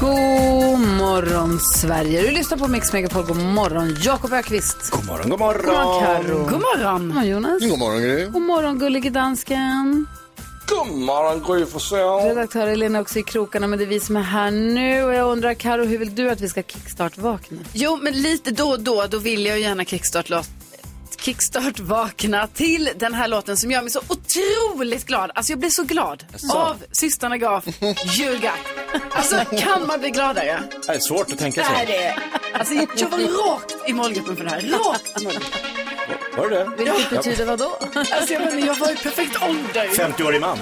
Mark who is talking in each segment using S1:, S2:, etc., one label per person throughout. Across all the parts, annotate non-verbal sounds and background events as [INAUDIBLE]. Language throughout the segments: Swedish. S1: God morgon, Sverige. Du lyssnar på Mix Megapol. God morgon, Jakob Ökvist. God
S2: morgon, god morgon. God morgon,
S1: Karo. God morgon. God morgon, Jonas.
S3: God morgon, Gry.
S1: God morgon, gullige dansken.
S2: God morgon, Gry Forssell.
S1: Redaktör Elin är också i krokarna, men det är vi som är här nu. Och jag undrar, Karo, hur vill du att vi ska kickstart-vakna?
S4: Jo, men lite då och då, då vill jag gärna kickstart-låt kickstart vakna till den här låten som gör mig så otroligt glad. Alltså jag blir så glad
S2: Jaså?
S4: av systrarna Graf, Ljuga. Alltså kan man bli gladare?
S2: Det är svårt att tänka
S4: Det
S2: sig.
S4: här är Alltså jag var rakt i målgruppen för det här. Rakt i målgruppen.
S2: Var det det?
S1: Vilket betyder vad då?
S4: Alltså jag menar, jag var i perfekt ålder.
S2: 50-årig man.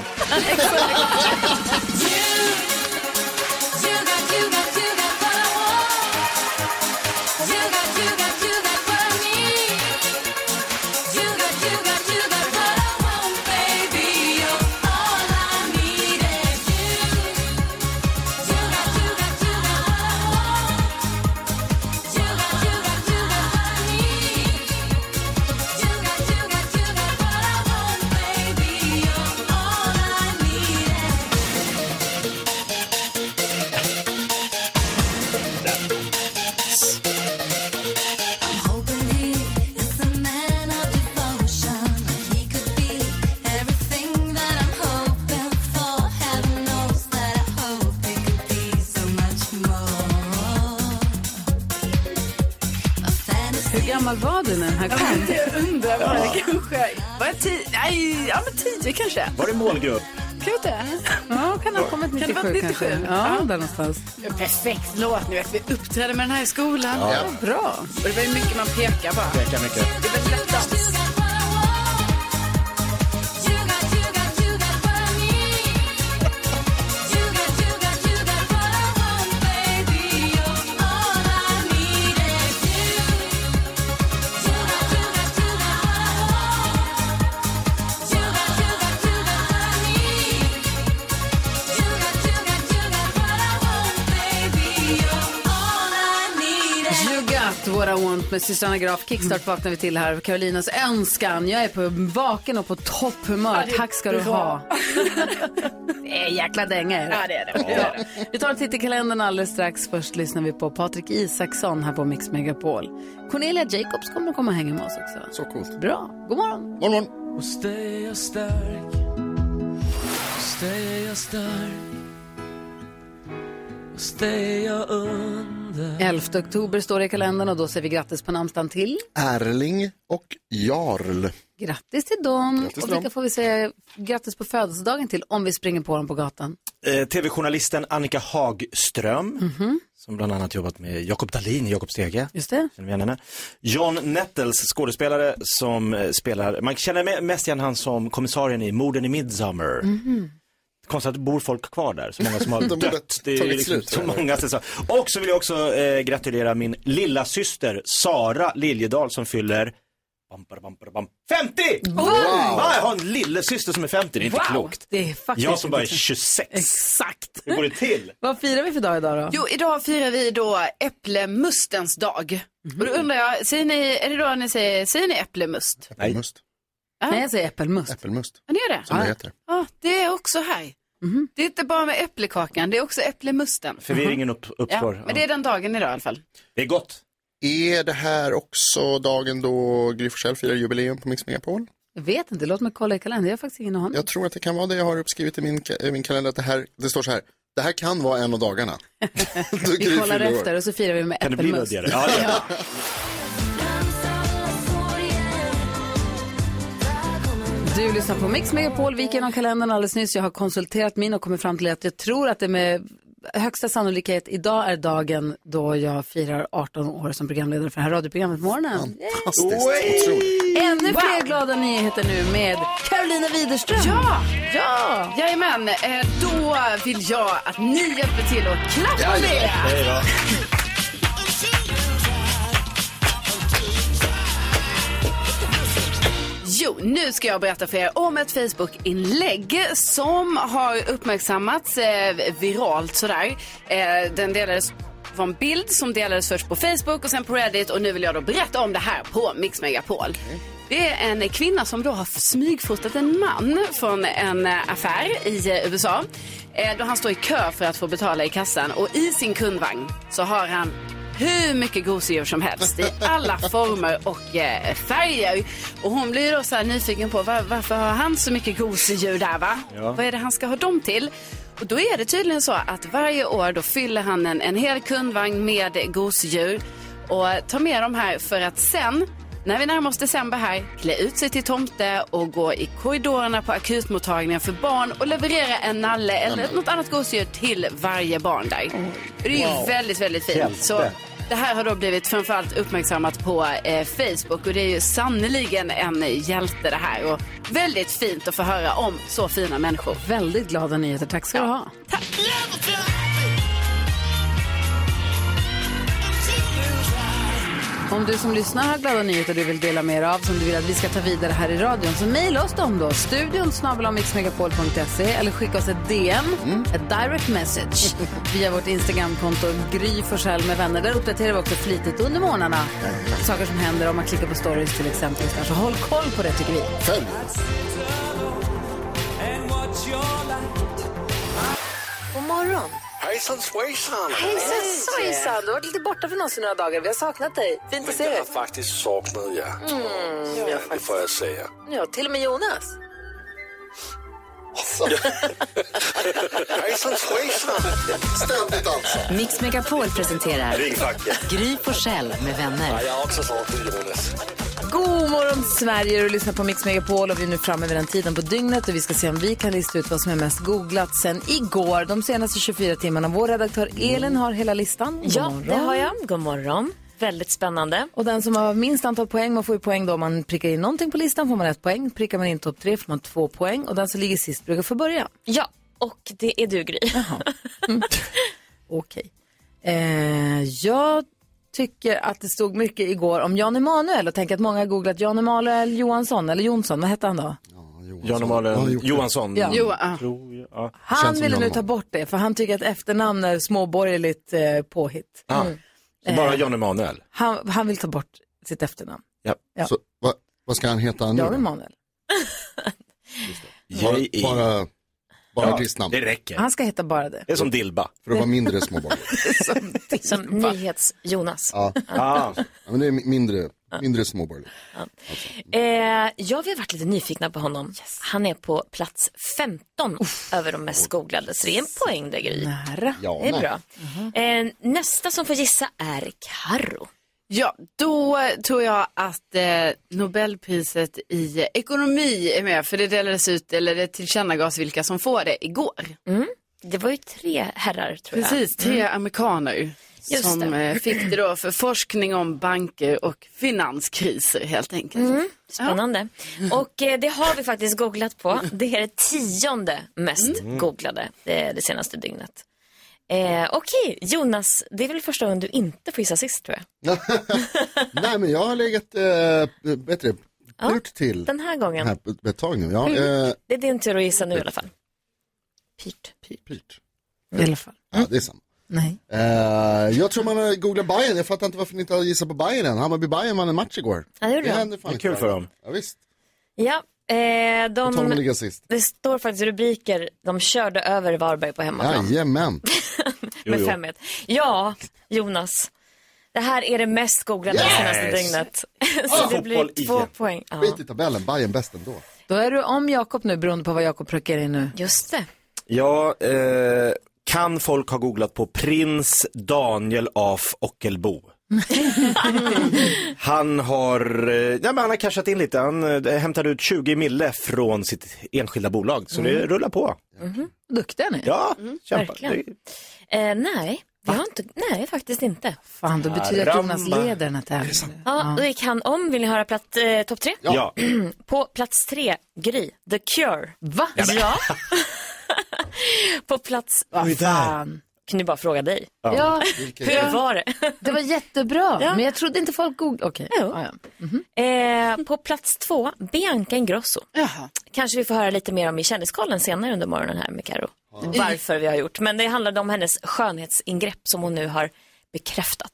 S1: Hur gammal var du när den här
S4: Jag vet
S1: kom?
S4: inte, jag undrar bara, kanske. Var jag tio? Nej, ja men tio kanske.
S2: Var det målgrupp?
S4: Kan jag inte?
S1: Ja, kan ha kommit
S4: Kan det
S1: 97,
S4: vara 97?
S1: kanske. Ja, där någonstans.
S4: Perfekt låt, ni vet vi uppträdde med den här i skolan.
S1: Ja, bra.
S4: Och det var ju mycket man pekar bara.
S2: Pekar mycket.
S4: Det var lätt dans.
S1: You got what I want med systrarna Graf. Kickstart vaknar vi till här. Karolinas önskan. Jag är på vaken och på topphumör.
S4: det är
S1: Tack ska du
S4: bra.
S1: ha.
S4: [LAUGHS]
S1: det är en jäkla dänga är det.
S4: Ja, det är det. Ja.
S1: Vi tar en titt i kalendern alldeles strax. Först lyssnar vi på Patrik Isaksson här på Mix Megapol. Cornelia Jacobs kommer att komma och hänga med oss också.
S3: Så coolt.
S1: Bra. God morgon.
S3: Morgon, morgon.
S1: Mm. 11 oktober står det i kalendern och då säger vi grattis på namnsdagen till.
S3: Erling och Jarl.
S1: Grattis till dem.
S3: Grattis till
S1: och vilka
S3: dem.
S1: får vi säga grattis på födelsedagen till om vi springer på dem på gatan?
S2: Eh, TV-journalisten Annika Hagström,
S1: Mhm.
S2: som bland annat jobbat med Jakob Dahlin i Jakob Stege.
S1: Just det.
S2: Känner vi igen henne? John Nettles, skådespelare som eh, spelar, man känner me- mest igen han som kommissarien i Morden i Midsommar.
S3: Mm-hmm.
S2: Konstigt att det bor folk kvar där, så många som
S3: [LAUGHS]
S2: har
S3: De borde
S2: dött. Det är
S3: tagit
S2: liksom
S3: slut,
S2: så
S3: tror jag.
S2: många säsonger. Och så vill jag också eh, gratulera min lilla syster Sara Liljedahl som fyller bam, bam, bam, bam, 50! Wow! Ja, jag har en lillesyster som är 50, det är inte klokt.
S1: Det är faktiskt
S2: Jag som bara är
S1: inte-
S2: 26.
S1: Exakt.
S2: Hur går det till?
S1: Vad firar vi för dag idag då?
S4: Jo, idag firar vi då äpplemustens dag. Och då undrar jag, säger ni, är det då ni säger, säger ni äpplemust?
S3: Äppelmust.
S1: Nej, jag säger äppelmust.
S3: Äppelmust,
S4: Ja, ni gör det?
S3: som det heter.
S4: Ja, det är också här. Det är inte bara med äpplekakan, det är också äpplemusten.
S2: Förvirringen upp,
S4: Ja,
S2: uppstår.
S4: men det är den dagen idag i alla fall.
S2: det är gott.
S3: Är det här också dagen då Gry Forssell firar jubileum på Mix Megapol?
S1: Jag vet inte, låt mig kolla i kalendern. Jag har faktiskt ingen aning.
S3: Jag tror att det kan vara det jag har uppskrivit i min, ka- i min kalender. Att det, här, det står så här, det här kan vara en av dagarna. Då Gry
S1: [LAUGHS] Vi kollar
S3: fyller år.
S1: efter och så firar vi med
S2: Kan det bli
S1: äppelmust.
S2: luddigare? Ja, det är det.
S1: Du lyssnar på Mix Megapol, vi gick igenom kalendern alldeles nyss. Jag har konsulterat min och kommit fram till att jag tror att det med högsta sannolikhet idag är dagen då jag firar 18 år som programledare för det här radioprogrammet på morgonen.
S3: Fantastiskt. Otroligt.
S1: Ännu fler glada nyheter nu med Carolina Widerström.
S4: Ja, ja, jajamän. Eh, Då vill jag att ni hjälper till och klappar det.
S2: Hej då.
S4: Jo, nu ska jag berätta för er om ett Facebook-inlägg som har uppmärksammats eh, viralt sådär. Eh, den delades var en bild som delades först på Facebook och sen på Reddit och nu vill jag då berätta om det här på Mix Megapol. Det är en kvinna som då har smygfotat en man från en eh, affär i eh, USA. Eh, då han står i kö för att få betala i kassan och i sin kundvagn så har han hur mycket gosedjur som helst i alla former och eh, färger. Och hon blir då så här nyfiken på var, varför har han så mycket gosedjur där va? Vad är det han ska ha dem till? Och då är det tydligen så att varje år då fyller han en, en hel kundvagn med gosedjur och tar med dem här för att sen när vi närmar oss december här, klä ut sig till tomte och gå i korridorerna på akutmottagningen för barn och leverera en nalle eller något annat gosedjur till varje barn där. Det är ju väldigt, väldigt fint. Så det här har då blivit framförallt uppmärksammat på eh, Facebook och det är ju sannerligen en hjälte det här och väldigt fint att få höra om så fina människor.
S1: Väldigt glada nyheter, tack ska du ha. Om du som lyssnar har glada nyheter du vill dela med dig av som du vill att vi ska ta vidare här i radion så mejla oss dem då. Studion snabel-a mixmegapol.se eller skicka oss ett DM,
S5: Mm.
S1: ett
S5: [LAUGHS]
S1: direct message via vårt Instagramkonto Gry Forssell med vänner. Där uppdaterar vi också flitigt under månaderna
S5: Mm.
S1: saker som händer om man klickar på stories till exempel. och sådär. Så alltså, håll koll på det tycker vi.
S3: Följ.
S1: God morgon!
S5: Hejsan svejsan!
S1: Hejsan Du har varit lite borta från oss i några dagar. Vi har saknat dig. Fint att se
S5: Jag
S1: dig. Mm.
S5: har faktiskt saknat er.
S3: Mm.
S5: ja, det får jag säga.
S1: Ja, till och med Jonas.
S5: Hejsan svejsan!
S3: Ständigt alltså.
S6: Mix Megapol presenterar
S5: Ring facket.
S6: Gry Forssell med vänner.
S5: Jag har också saknat
S3: [LAUGHS]
S5: Jonas.
S1: God morgon Sverige! Du lyssnar på Mix Megapol och vi är nu framme vid den tiden på dygnet och vi ska se om vi kan lista ut vad som är mest googlat sen igår, de senaste 24 timmarna. Vår redaktör Elin har hela listan. God
S6: Ja,
S1: morgon.
S6: det har jag. God morgon. Väldigt spännande.
S1: Och den som har minst antal poäng, man får ju poäng då om man prickar in någonting på listan får man ett poäng. Prickar man in topp tre får man två poäng och den som ligger sist brukar få börja. Mm.
S6: Ja, och det är du Gry. [LAUGHS]
S1: Okej. Eh, jag tycker att det stod mycket igår om Jan Emanuel och tänker att många har googlat Jan Emanuel Johansson, eller Jonsson, vad hette han då?
S2: Jan Emanuel Johansson.
S1: Ja.
S4: Jo, ah.
S2: Tror jag. Ja.
S1: Han
S3: Känns som
S1: ville nu
S3: Jan
S1: ta bort det för han tycker att efternamn är småborgerligt eh, påhitt. Eh,
S2: Ah. Så bara Jan Emanuel.
S1: Han, han vill ta bort sitt efternamn,
S2: Ja.
S1: Ja.
S3: Så, vad, vad ska han heta nu?
S1: Jan
S3: då?
S1: Emanuel.
S3: Bara,
S2: J.I.
S3: bara, bara
S2: E. Ja,
S3: artistnamn.
S2: Det räcker.
S1: Han ska heta bara det.
S2: Det är som Dilba.
S3: För att vara mindre småbarn.
S7: [LAUGHS]
S6: Som nyhets-Jonas.
S3: ja.
S2: [LAUGHS] Ah.
S3: ja, men det är mi- mindre,
S1: Ah.
S3: mindre småbarn.
S7: Eh, ja, vi har varit lite nyfikna på honom. Han är på plats 15 över de mest googlade, så det är en poäng där Gry.
S1: Nära.
S3: Ja,
S7: Det är
S3: nej. Mm-hmm.
S7: bra. Eh, nästa som får gissa är Karo.
S4: Ja, då tror jag att eh, Nobelpriset i ekonomi är med, för det delades ut, eller det tillkännagavs vilka som får det igår.
S1: Mm.
S7: Det var ju tre herrar tror jag.
S4: Precis, tre amerikaner
S7: Just
S4: som
S7: det.
S4: eh, fick det då för forskning om banker och finanskriser helt enkelt.
S7: Mm, Spännande.
S3: Mm.
S7: Och eh, det har vi faktiskt googlat på. Det är det tionde mest
S3: Mm.
S7: googlade eh, det senaste dygnet. Eh, Okej, Jonas, det är väl första gången du inte får gissa sist tror jag.
S3: nej, men jag har legat, eh, bättre, purt till
S7: Den här gången. Mm.
S3: här på ett tag nu. Ja, eh,
S7: Det är din tur att gissa nu i alla fall. Pyrt.
S3: pyrt.
S1: I alla fall.
S3: Ja, det är samma.
S1: Nej.
S3: Eh, jag tror man har googlat Bayern. Jag fattar inte varför ni inte har gissat på Bayern än. hammarby Bayern vann en match igår.
S7: Ja, det gjorde de.
S3: hände fan
S2: Det är kul
S3: inte
S2: för
S3: varje
S2: dem.
S3: gång. Ja, visst.
S7: Ja, eh,
S3: På tal om att
S7: de,
S3: ligga sist.
S7: det står faktiskt rubriker, de körde över Varberg på hemmaplan
S3: Jajamän.
S7: [LAUGHS] med
S2: jo.
S7: 5-1. Ja, Jonas, det här är det mest googlade
S2: Yes!
S7: senaste dygnet. [LAUGHS] Så det
S2: Fotboll
S7: blir två
S2: igen.
S7: poäng. Ja,
S3: Skit i tabellen, Bayern bäst ändå.
S1: Då är du om Jakob nu beroende på vad Jakob prickar in nu.
S7: just det.
S2: Ja, eh, kan folk ha googlat på prins Daniel af
S1: [LAUGHS]
S2: Ockelbo? han har, eh, ja, men han har cashat in lite. Han eh, hämtade ut 20 mille från
S8: Mm.
S2: sitt enskilda bolag, så det rullar på.
S1: Duktiga ni.
S2: Ja, kämpa.
S7: Mhm. Mm, verkligen.
S2: Det-
S7: Eh, nej, vi har inte, nej, faktiskt inte.
S1: Fan, då betyder det att Jonas leder den här tävlingen.
S7: Ja, då gick han om. Vill ni höra platt, eh, topp tre?
S1: Ja.
S7: [CLEARS THROAT] På plats tre, Gry, The Cure.
S1: Va?
S7: Ja. [LAUGHS] På plats...
S1: Vad fan.
S7: Kan du bara fråga dig?
S1: Ja. Ja.
S7: Hur var det?
S1: Det var jättebra,
S7: Ja.
S1: men jag trodde inte folk googlade. Okej.
S7: Jo.
S1: Ja, ja.
S7: eh, på plats två, Bianca Ingrosso. Kanske vi får höra lite mer om i Kändiskollen senare under morgonen här med Karo.
S9: Mm.
S7: Varför vi har gjort. Men det handlade om hennes skönhetsingrepp som hon nu har bekräftat.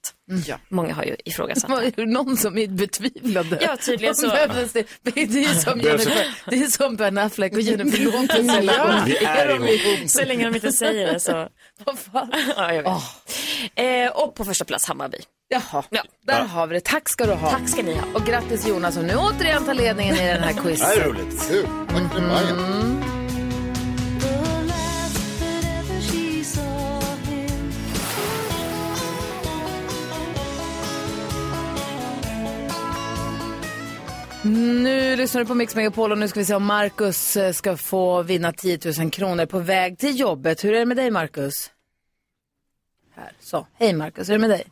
S7: Många har ju
S1: [LAUGHS]
S7: ifrågasatt
S1: Var det någon som är betvivlade?
S7: Ja, tydligen så.
S1: De behövdes Det, det är ju som,
S2: Behövs
S1: Jennifer, det är som Ben Affleck
S7: [LAUGHS]
S1: och
S9: [LAUGHS]
S1: Jennifer Lopez.
S7: Ja.
S2: Vi är ihop.
S7: Så länge de inte säger det [LAUGHS] så.
S1: Vad fan?
S7: Ja, jag vet. Eh, och på första plats Hammarby.
S1: Jaha,
S7: Ja.
S1: där har vi det. Tack ska du ha.
S7: Tack ska ni ha.
S1: Och grattis Jonas som nu återigen tar ledningen i
S2: [LAUGHS]
S1: den här
S2: Det här är
S1: quizen.
S2: roligt.
S3: Kul. Tack
S7: Mhm.
S3: för Bajen.
S1: Nu lyssnar du på Mix Megapol och nu ska vi se om Marcus eh, ska få vinna 10 000 kronor på väg till jobbet. Hur är det med dig Marcus? Här, så. Hej Marcus, hur är det med dig?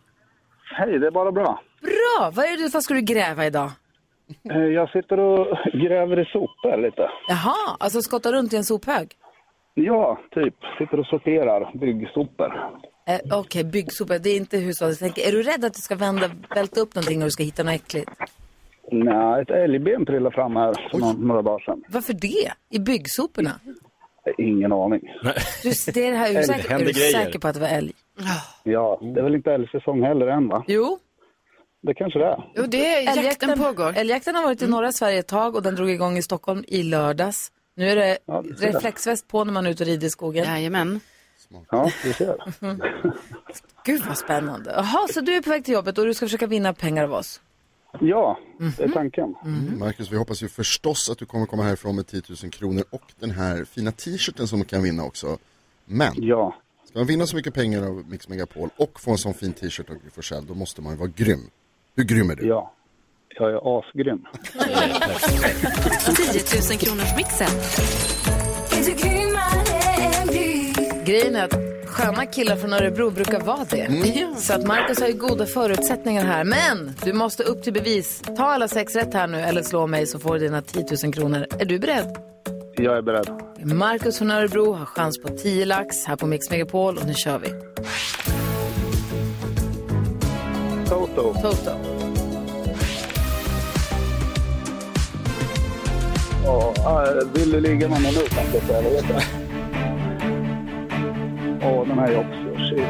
S8: Hej, det är bara bra.
S1: Bra! Vad, är det, vad ska du gräva idag?
S8: Eh, Jag sitter och gräver i sopor lite.
S1: Jaha, alltså skotta runt i en sophög?
S8: Ja, typ. Sitter och sorterar byggsopor.
S1: Eh, Okej, byggsopor. Det är inte hushållsdänk. Är du rädd att du ska vända, välta upp någonting och du ska hitta något äckligt?
S8: Nej, ett älgben trillade fram här för någon, några dagar sedan.
S1: Varför det? I byggsoporna?
S8: Eh, Ingen aning.
S1: Du, det är det här, är du,
S8: Älg,
S1: säker, är
S2: händer
S1: du
S2: grejer.
S1: säker på att det var älg?
S8: Ja, det är väl inte älgsäsong heller än va?
S1: Jo.
S8: Det kanske det är.
S4: Jo, det är, jakten pågår. Mm.
S1: Älgjakten har varit i norra Sverige ett tag och den drog igång i Stockholm i lördags. Nu är det
S8: Ja, det ser jag.
S1: reflexväst på när man är ute och rider i skogen. Mm.
S4: Jajamän.
S8: Ja, du ser.
S1: Gud vad spännande. Jaha, så du är på väg till jobbet och du ska försöka vinna pengar av oss.
S8: Ja,
S1: Mhm.
S8: det är tanken.
S3: Mm. Marcus, vi hoppas ju förstås att du kommer komma härifrån med 10 000 kronor och den här fina t-shirten som du kan vinna också. Men,
S8: Ja,
S3: ska man vinna så mycket pengar av Mix Megapol och få en sån fin t-shirt av Gry Forssell, då måste man ju vara grym. Hur grym är du?
S8: ja. Jag är asgrym.
S6: 10 000 kronors mixen.
S1: Grejen är att sköna killar från Örebro brukar vara det.
S8: Mm.
S1: Så att Marcus har ju goda förutsättningar här. Men du måste upp till bevis. Ta alla sex rätt här nu eller slå mig så får du dina 10 000 kronor. Är du beredd?
S8: Jag är beredd.
S1: Marcus från Örebro har chans på 10 lax här på Mix Megapol och nu kör vi.
S8: Toto,
S1: Toto.
S8: ja, eh, vill du ligga någon minut? tänkte jag säga, vad heter det? Åh, den här är också... Shit.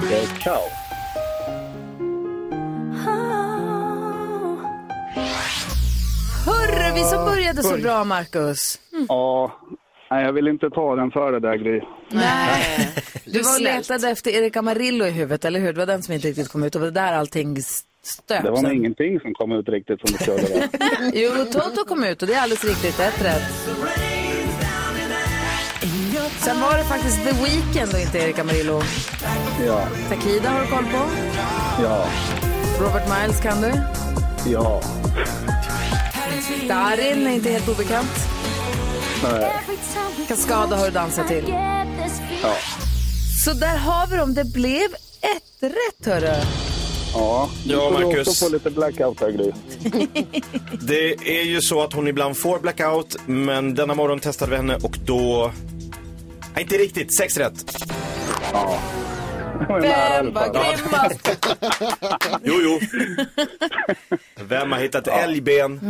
S8: Det är kaos.
S1: Hurra, vi som började så bra, Marcus.
S8: Mm. Ja, nej, jag vill inte ta den före där, Gry.
S1: Nej. Du var och letade efter Erik Amarillo i huvudet, eller hur? Det var den som inte riktigt kom ut och det var där allting s- stöp.
S8: Det var nog
S1: sen.
S8: ingenting som kom ut riktigt som det skulle
S1: [LAUGHS]
S8: vara.
S1: Jo, Toto kom ut och det är alldeles riktigt. Ett rätt. Sen var det faktiskt The Weeknd och inte Erik Amarillo.
S8: Ja,
S1: Takida har du koll på.
S8: ja,
S1: Robert Miles kan du.
S8: ja.
S1: Darin är inte helt obekant.
S8: Nej.
S1: Kaskada har du dansat till. Så där har vi dem. Det blev ett rätt, hörru.
S8: Ja,
S2: Ja,
S8: Nu får Du
S2: Marcus.
S8: också få lite blackout här, Gry.
S2: Det är ju så att hon ibland får blackout, men denna morgon testade vi henne och då... Nej, inte riktigt. Sex rätt.
S8: Jag är nära
S1: Vem
S8: det,
S1: var
S8: fan.
S1: grymmast?
S2: Jo, jo. Vem har hittat älgben?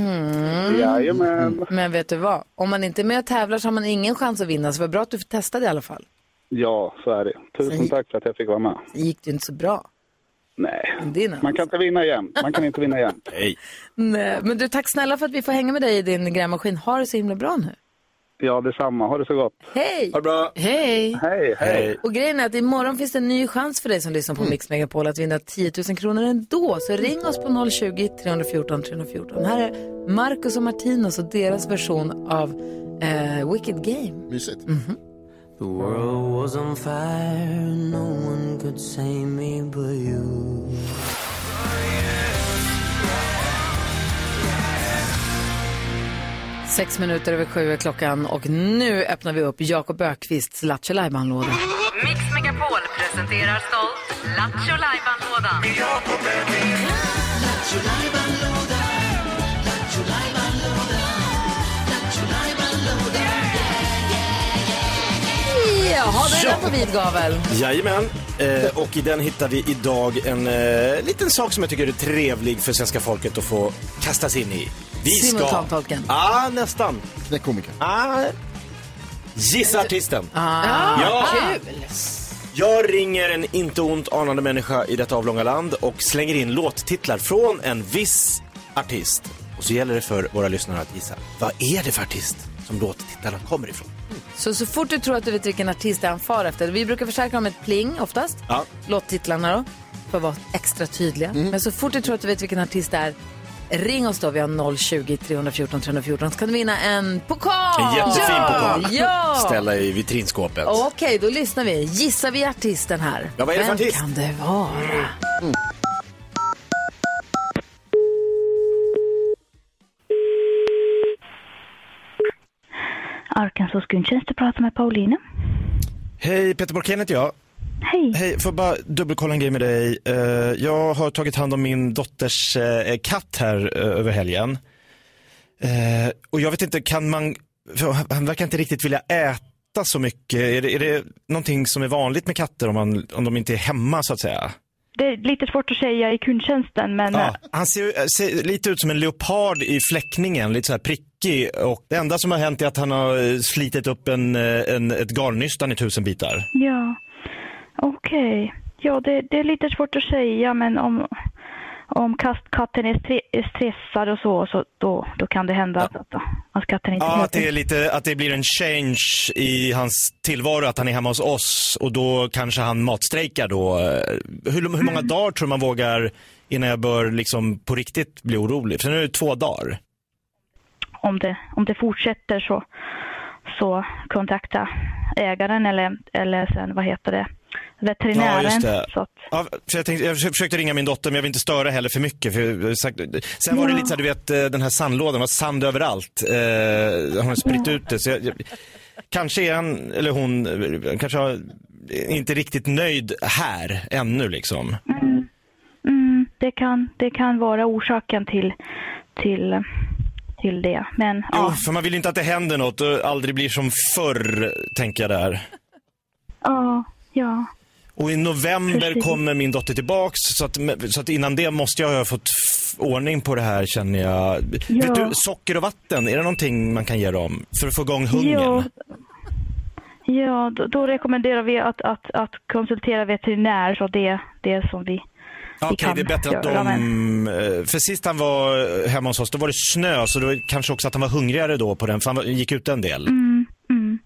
S8: Jajamän.
S1: Mm. Men vet du vad? Om man inte är med och tävlar så har man ingen chans att vinna. Så vad bra att du testade i alla fall.
S8: Ja, så är det. Tusen tack för att jag fick vara med.
S1: Det gick ju inte så bra.
S8: Nej,
S1: men Dina.
S8: man kan inte vinna jämt. Man kan inte vinna jämt.
S2: [LAUGHS] Nej.
S1: Nej, men du, tack snälla för att vi får hänga med dig i din grävmaskin. Ha det så himla bra nu.
S8: Ja, detsamma. Ha det så gott.
S1: Hej!
S2: Ha det bra.
S1: Hej!
S8: Hej, hej.
S2: Hej. Mm.
S1: Och grejen är att imorgon finns det en ny chans för dig som lyssnar på Mix Megapol att vinna 10 000 kronor ändå. Så ring oss på 020-314 314. Här är Marcus och Martinus och deras version av eh, Wicked Game.
S3: Mysigt.
S5: The world was on fire, no one could save me but you.
S1: Sex minuter över sju är klockan och nu öppnar vi upp Jakob Ökvists Lattjo Lajban-låda.
S10: Mix Megapol presenterar stolt Lattjo Lajban-lådan.
S1: Jaha, den
S2: Ja.
S1: är på vid gavel.
S2: Jajamän, eh, och i den hittar vi idag en eh, liten sak som jag tycker är trevlig för svenska folket att få kasta sig in i. Vi ska...
S1: Simultantolken.
S2: Ah, nästan.
S3: Knäckkomiker.
S2: Ah, gissa artisten.
S1: Ah,
S2: Ja.
S1: Kul!
S2: Jag ringer en inte ont anande människa i detta avlånga land och slänger in låttitlar från en viss artist. Och så gäller det för våra lyssnare att gissa, vad är det för artist som låttitlarna kommer ifrån?
S1: Så, så fort du tror att du vet vilken artist det är han far efter. Vi brukar försäkra om ett pling oftast.
S2: Ja.
S1: Låttitlarna då, för att vara extra tydliga. Men så fort du tror att du vet vilken artist det är, ring oss då. Vi har 020-314 314. Så kan du vinna en pokal!
S2: En jättefin
S1: ja!
S2: pokal.
S1: Ja!
S2: Ställa i vitrinskåpet.
S1: Okej, då lyssnar vi. Gissar vi artisten här.
S2: Ja, vad är det för
S1: Vem
S2: artist?
S1: kan det vara?
S11: Arkansas kundtjänst, du pratar med Paulina.
S2: Hej, Peter Borkén heter jag.
S11: Hej.
S2: Hej, får jag bara dubbelkolla en grej med dig. Eh, jag har tagit hand om min dotters eh, katt här eh, över helgen. Eh, och jag vet inte, kan man, för han- han verkar inte riktigt vilja äta så mycket. Är det, är det någonting som är vanligt med katter om, man, om de inte är hemma så att säga?
S11: Det är lite svårt att säga i kundtjänsten, men eh,
S2: Ja, han ser, ju- ser lite ut som en leopard i fläckningen, lite så här prickig. Och det enda som har hänt är att han har eh, slitit upp en, eh, en, ett garnnystan i tusen bitar.
S11: ja. Okej. Ja, det, det är lite svårt att säga, men om, om kast, katten är, stre, är stressad och så, så då, då kan det hända att, att, att katten inte
S2: Ja, att
S11: äter.
S2: det, är lite, att det blir en change i hans tillvaro, att han är hemma hos oss och då kanske han matstrejkar då. Eh, Hur, hur många dagar tror du man vågar innan jag bör liksom på riktigt bli orolig? För nu är det två dagar.
S11: Om, det, om det fortsätter så, så kontakta ägaren eller, eller sen, vad heter det, veterinären.
S2: Ja, för jag, tänkte, jag försö- försökte ringa min dotter men jag vill inte störa heller för mycket. För jag har sagt, sen var det
S11: Ja.
S2: lite så här, du vet eh, den här sandlådan, det var sand överallt. Eh, hon har spritt ut det. Så jag, jag, kanske är han, eller hon, eh, kanske har, är inte riktigt nöjd här ännu liksom.
S11: Mm, det, kan, det kan vara orsaken till, till, till det. Men
S2: Jo, för man vill ju inte att det händer något och aldrig blir som förr, tänker jag där.
S11: ja, ja.
S2: Och i november
S11: Precis.
S2: kommer min dotter tillbaks, så att, så att innan det måste jag ha fått f- ordning på det här känner jag.
S11: Ja.
S2: Vet du, socker och vatten, är det någonting man kan ge dem för att få igång hungern?
S11: Ja, ja då, då rekommenderar vi att, att, att konsultera veterinär. Så det är det som vi,
S2: Ja,
S11: vi
S2: Okej,
S11: kan
S2: det är bättre att
S11: göra,
S2: de...
S11: men-
S2: eh, För sist han var eh, hemma hos oss, då var det snö, så det var kanske också att han var hungrigare då på den, för han var- gick ut en del.
S11: Mm, mm.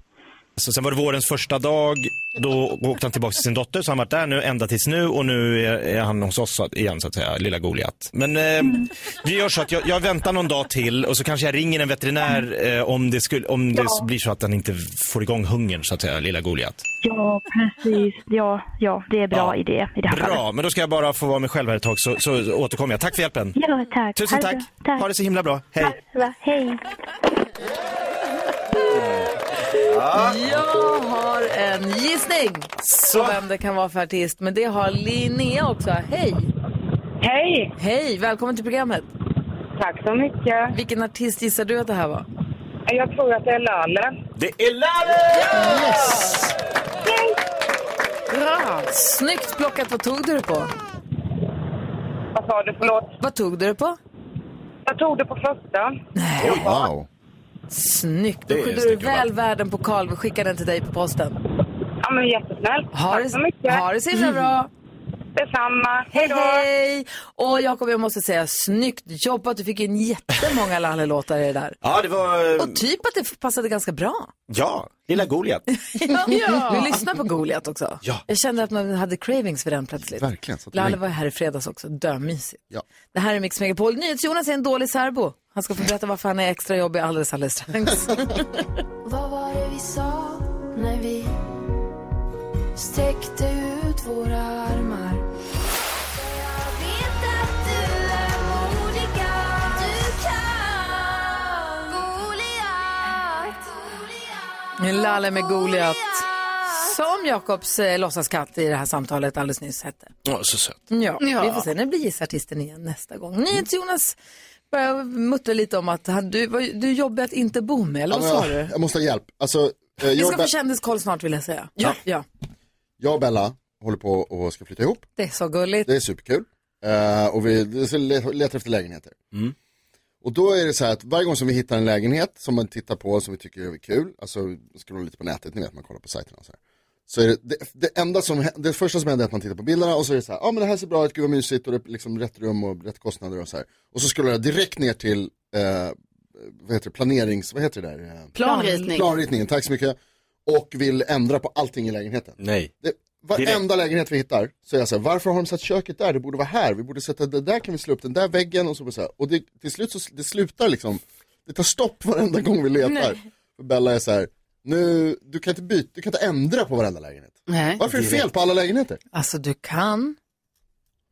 S2: Så sen var det vårens första dag, då åkte han tillbaka till sin dotter, så han varit där nu ända tills nu och nu är, är han hos oss så- igen så att säga, lilla Goliat. Men eh, vi gör så att jag, jag väntar någon dag till och så kanske jag ringer en veterinär eh, om det, skulle, om det
S11: Ja.
S2: blir så att han inte får igång hungern så att säga, lilla Goliat.
S11: Ja, precis. Ja, ja, det är bra
S2: Ja.
S11: idé i det här fallet.
S2: Bra, men då ska jag bara få vara mig själv här ett tag så, så återkommer jag. Tack för hjälpen.
S11: Ja, tack.
S2: Tusen
S11: Ha det
S2: tack.
S11: bra. tack.
S2: Ha det så himla bra. Hej.
S11: bra. Hej.
S1: Jag har en gissning på vem det kan vara för artist, men det har Linnea också. Hej! Hej! Hej! Välkommen till programmet. Tack så mycket. Vilken artist gissar du att det här var? Jag tror att det är Lalle.
S2: Det är Lalle! Yes!
S1: Bra! Snyggt plockat. Vad tog du det på? Vad sa du? Förlåt? Vad tog du det på? Jag tog det på första.
S3: Oj, wow.
S1: Snyggt. Då
S3: Det är
S1: skyddar du
S3: snyggt
S1: väl världen på Karl. Vi skickar den till dig på posten. Ja, men jättesnällt. Ha
S10: Tack
S1: det,
S10: så mycket.
S1: Ha det så himla bra. Detsamma. Hej, hej. Och Jakob, jag måste säga snyggt jobbat. Du fick in jättemånga Lalle-låtar i det där.
S2: Ja, det var... eh,
S1: Och typ att det passade ganska bra.
S2: Ja, lilla Goliat.
S1: Ja. Vi lyssnar på Goliat också.
S2: Ja.
S1: Jag kände att man hade cravings för den plötsligt.
S3: Verkligen. Så att
S1: Lalle var här i fredags också, dömysigt.
S3: Ja.
S1: Det här är Mix Megapol. NyhetsJonas är en dålig särbo. Han ska få berätta varför han är extra jobbig alldeles, alldeles [LAUGHS] strax.
S12: Vad var det vi sa när vi sträckte ut våra armar? Jag vet att du är modiga, du kan Goliat
S1: Lalle med Goliat. Som Jakobs eh, låtsaskatt i det här samtalet alldeles nyss hette.
S2: Ja, så söt.
S1: Ja, vi får se. Nu blir gissartisten igen nästa gång. NyhetsJonas börjar muttra lite om att han, du, vad- du är jobbig att inte bo med, eller vad
S3: Ja,
S1: sa
S3: men
S1: du?
S3: Jag måste ha hjälp. Alltså, eh,
S1: Vi
S3: jag, och
S1: ska få
S3: Be-
S1: kändiskoll snart vill jag säga.
S3: Ja.
S1: ja.
S3: jag och Bella håller på och ska flytta ihop.
S1: Det är så gulligt.
S3: Det är superkul. Eh, och vi le- letar efter lägenheter. Och då är det så här att varje gång som vi hittar en lägenhet som man tittar på som vi tycker är kul, alltså scrollar lite på nätet, ni vet man kollar på sajterna och så här. Så är det, det, det enda som, hä- det första som händer är att man tittar på bilderna och så är det så här, ja ah, men det här ser bra ut, gud vad mysigt och det är liksom rätt rum och rätt kostnader och så här. Och så scrollar jag direkt ner till, eh, vad heter det, planerings, vad heter det där? Eh,
S4: Planritning.
S3: Planritningen, tack så mycket. Och vill ändra på allting i lägenheten.
S2: Nej.
S3: Det, varenda lägenhet vi hittar så är jag så här, varför har de satt köket där? Det borde vara här. Vi borde sätta det där, kan vi slå upp den där väggen och så. Och, så här. och det, till slut så det slutar liksom, det tar stopp [LAUGHS] varenda gång vi letar.
S12: Nej.
S3: För Bella är så här, nu, du kan inte byta, du kan inte ändra på varenda lägenhet.
S1: Nej.
S3: Varför är det fel på alla lägenheter?
S1: Alltså du kan,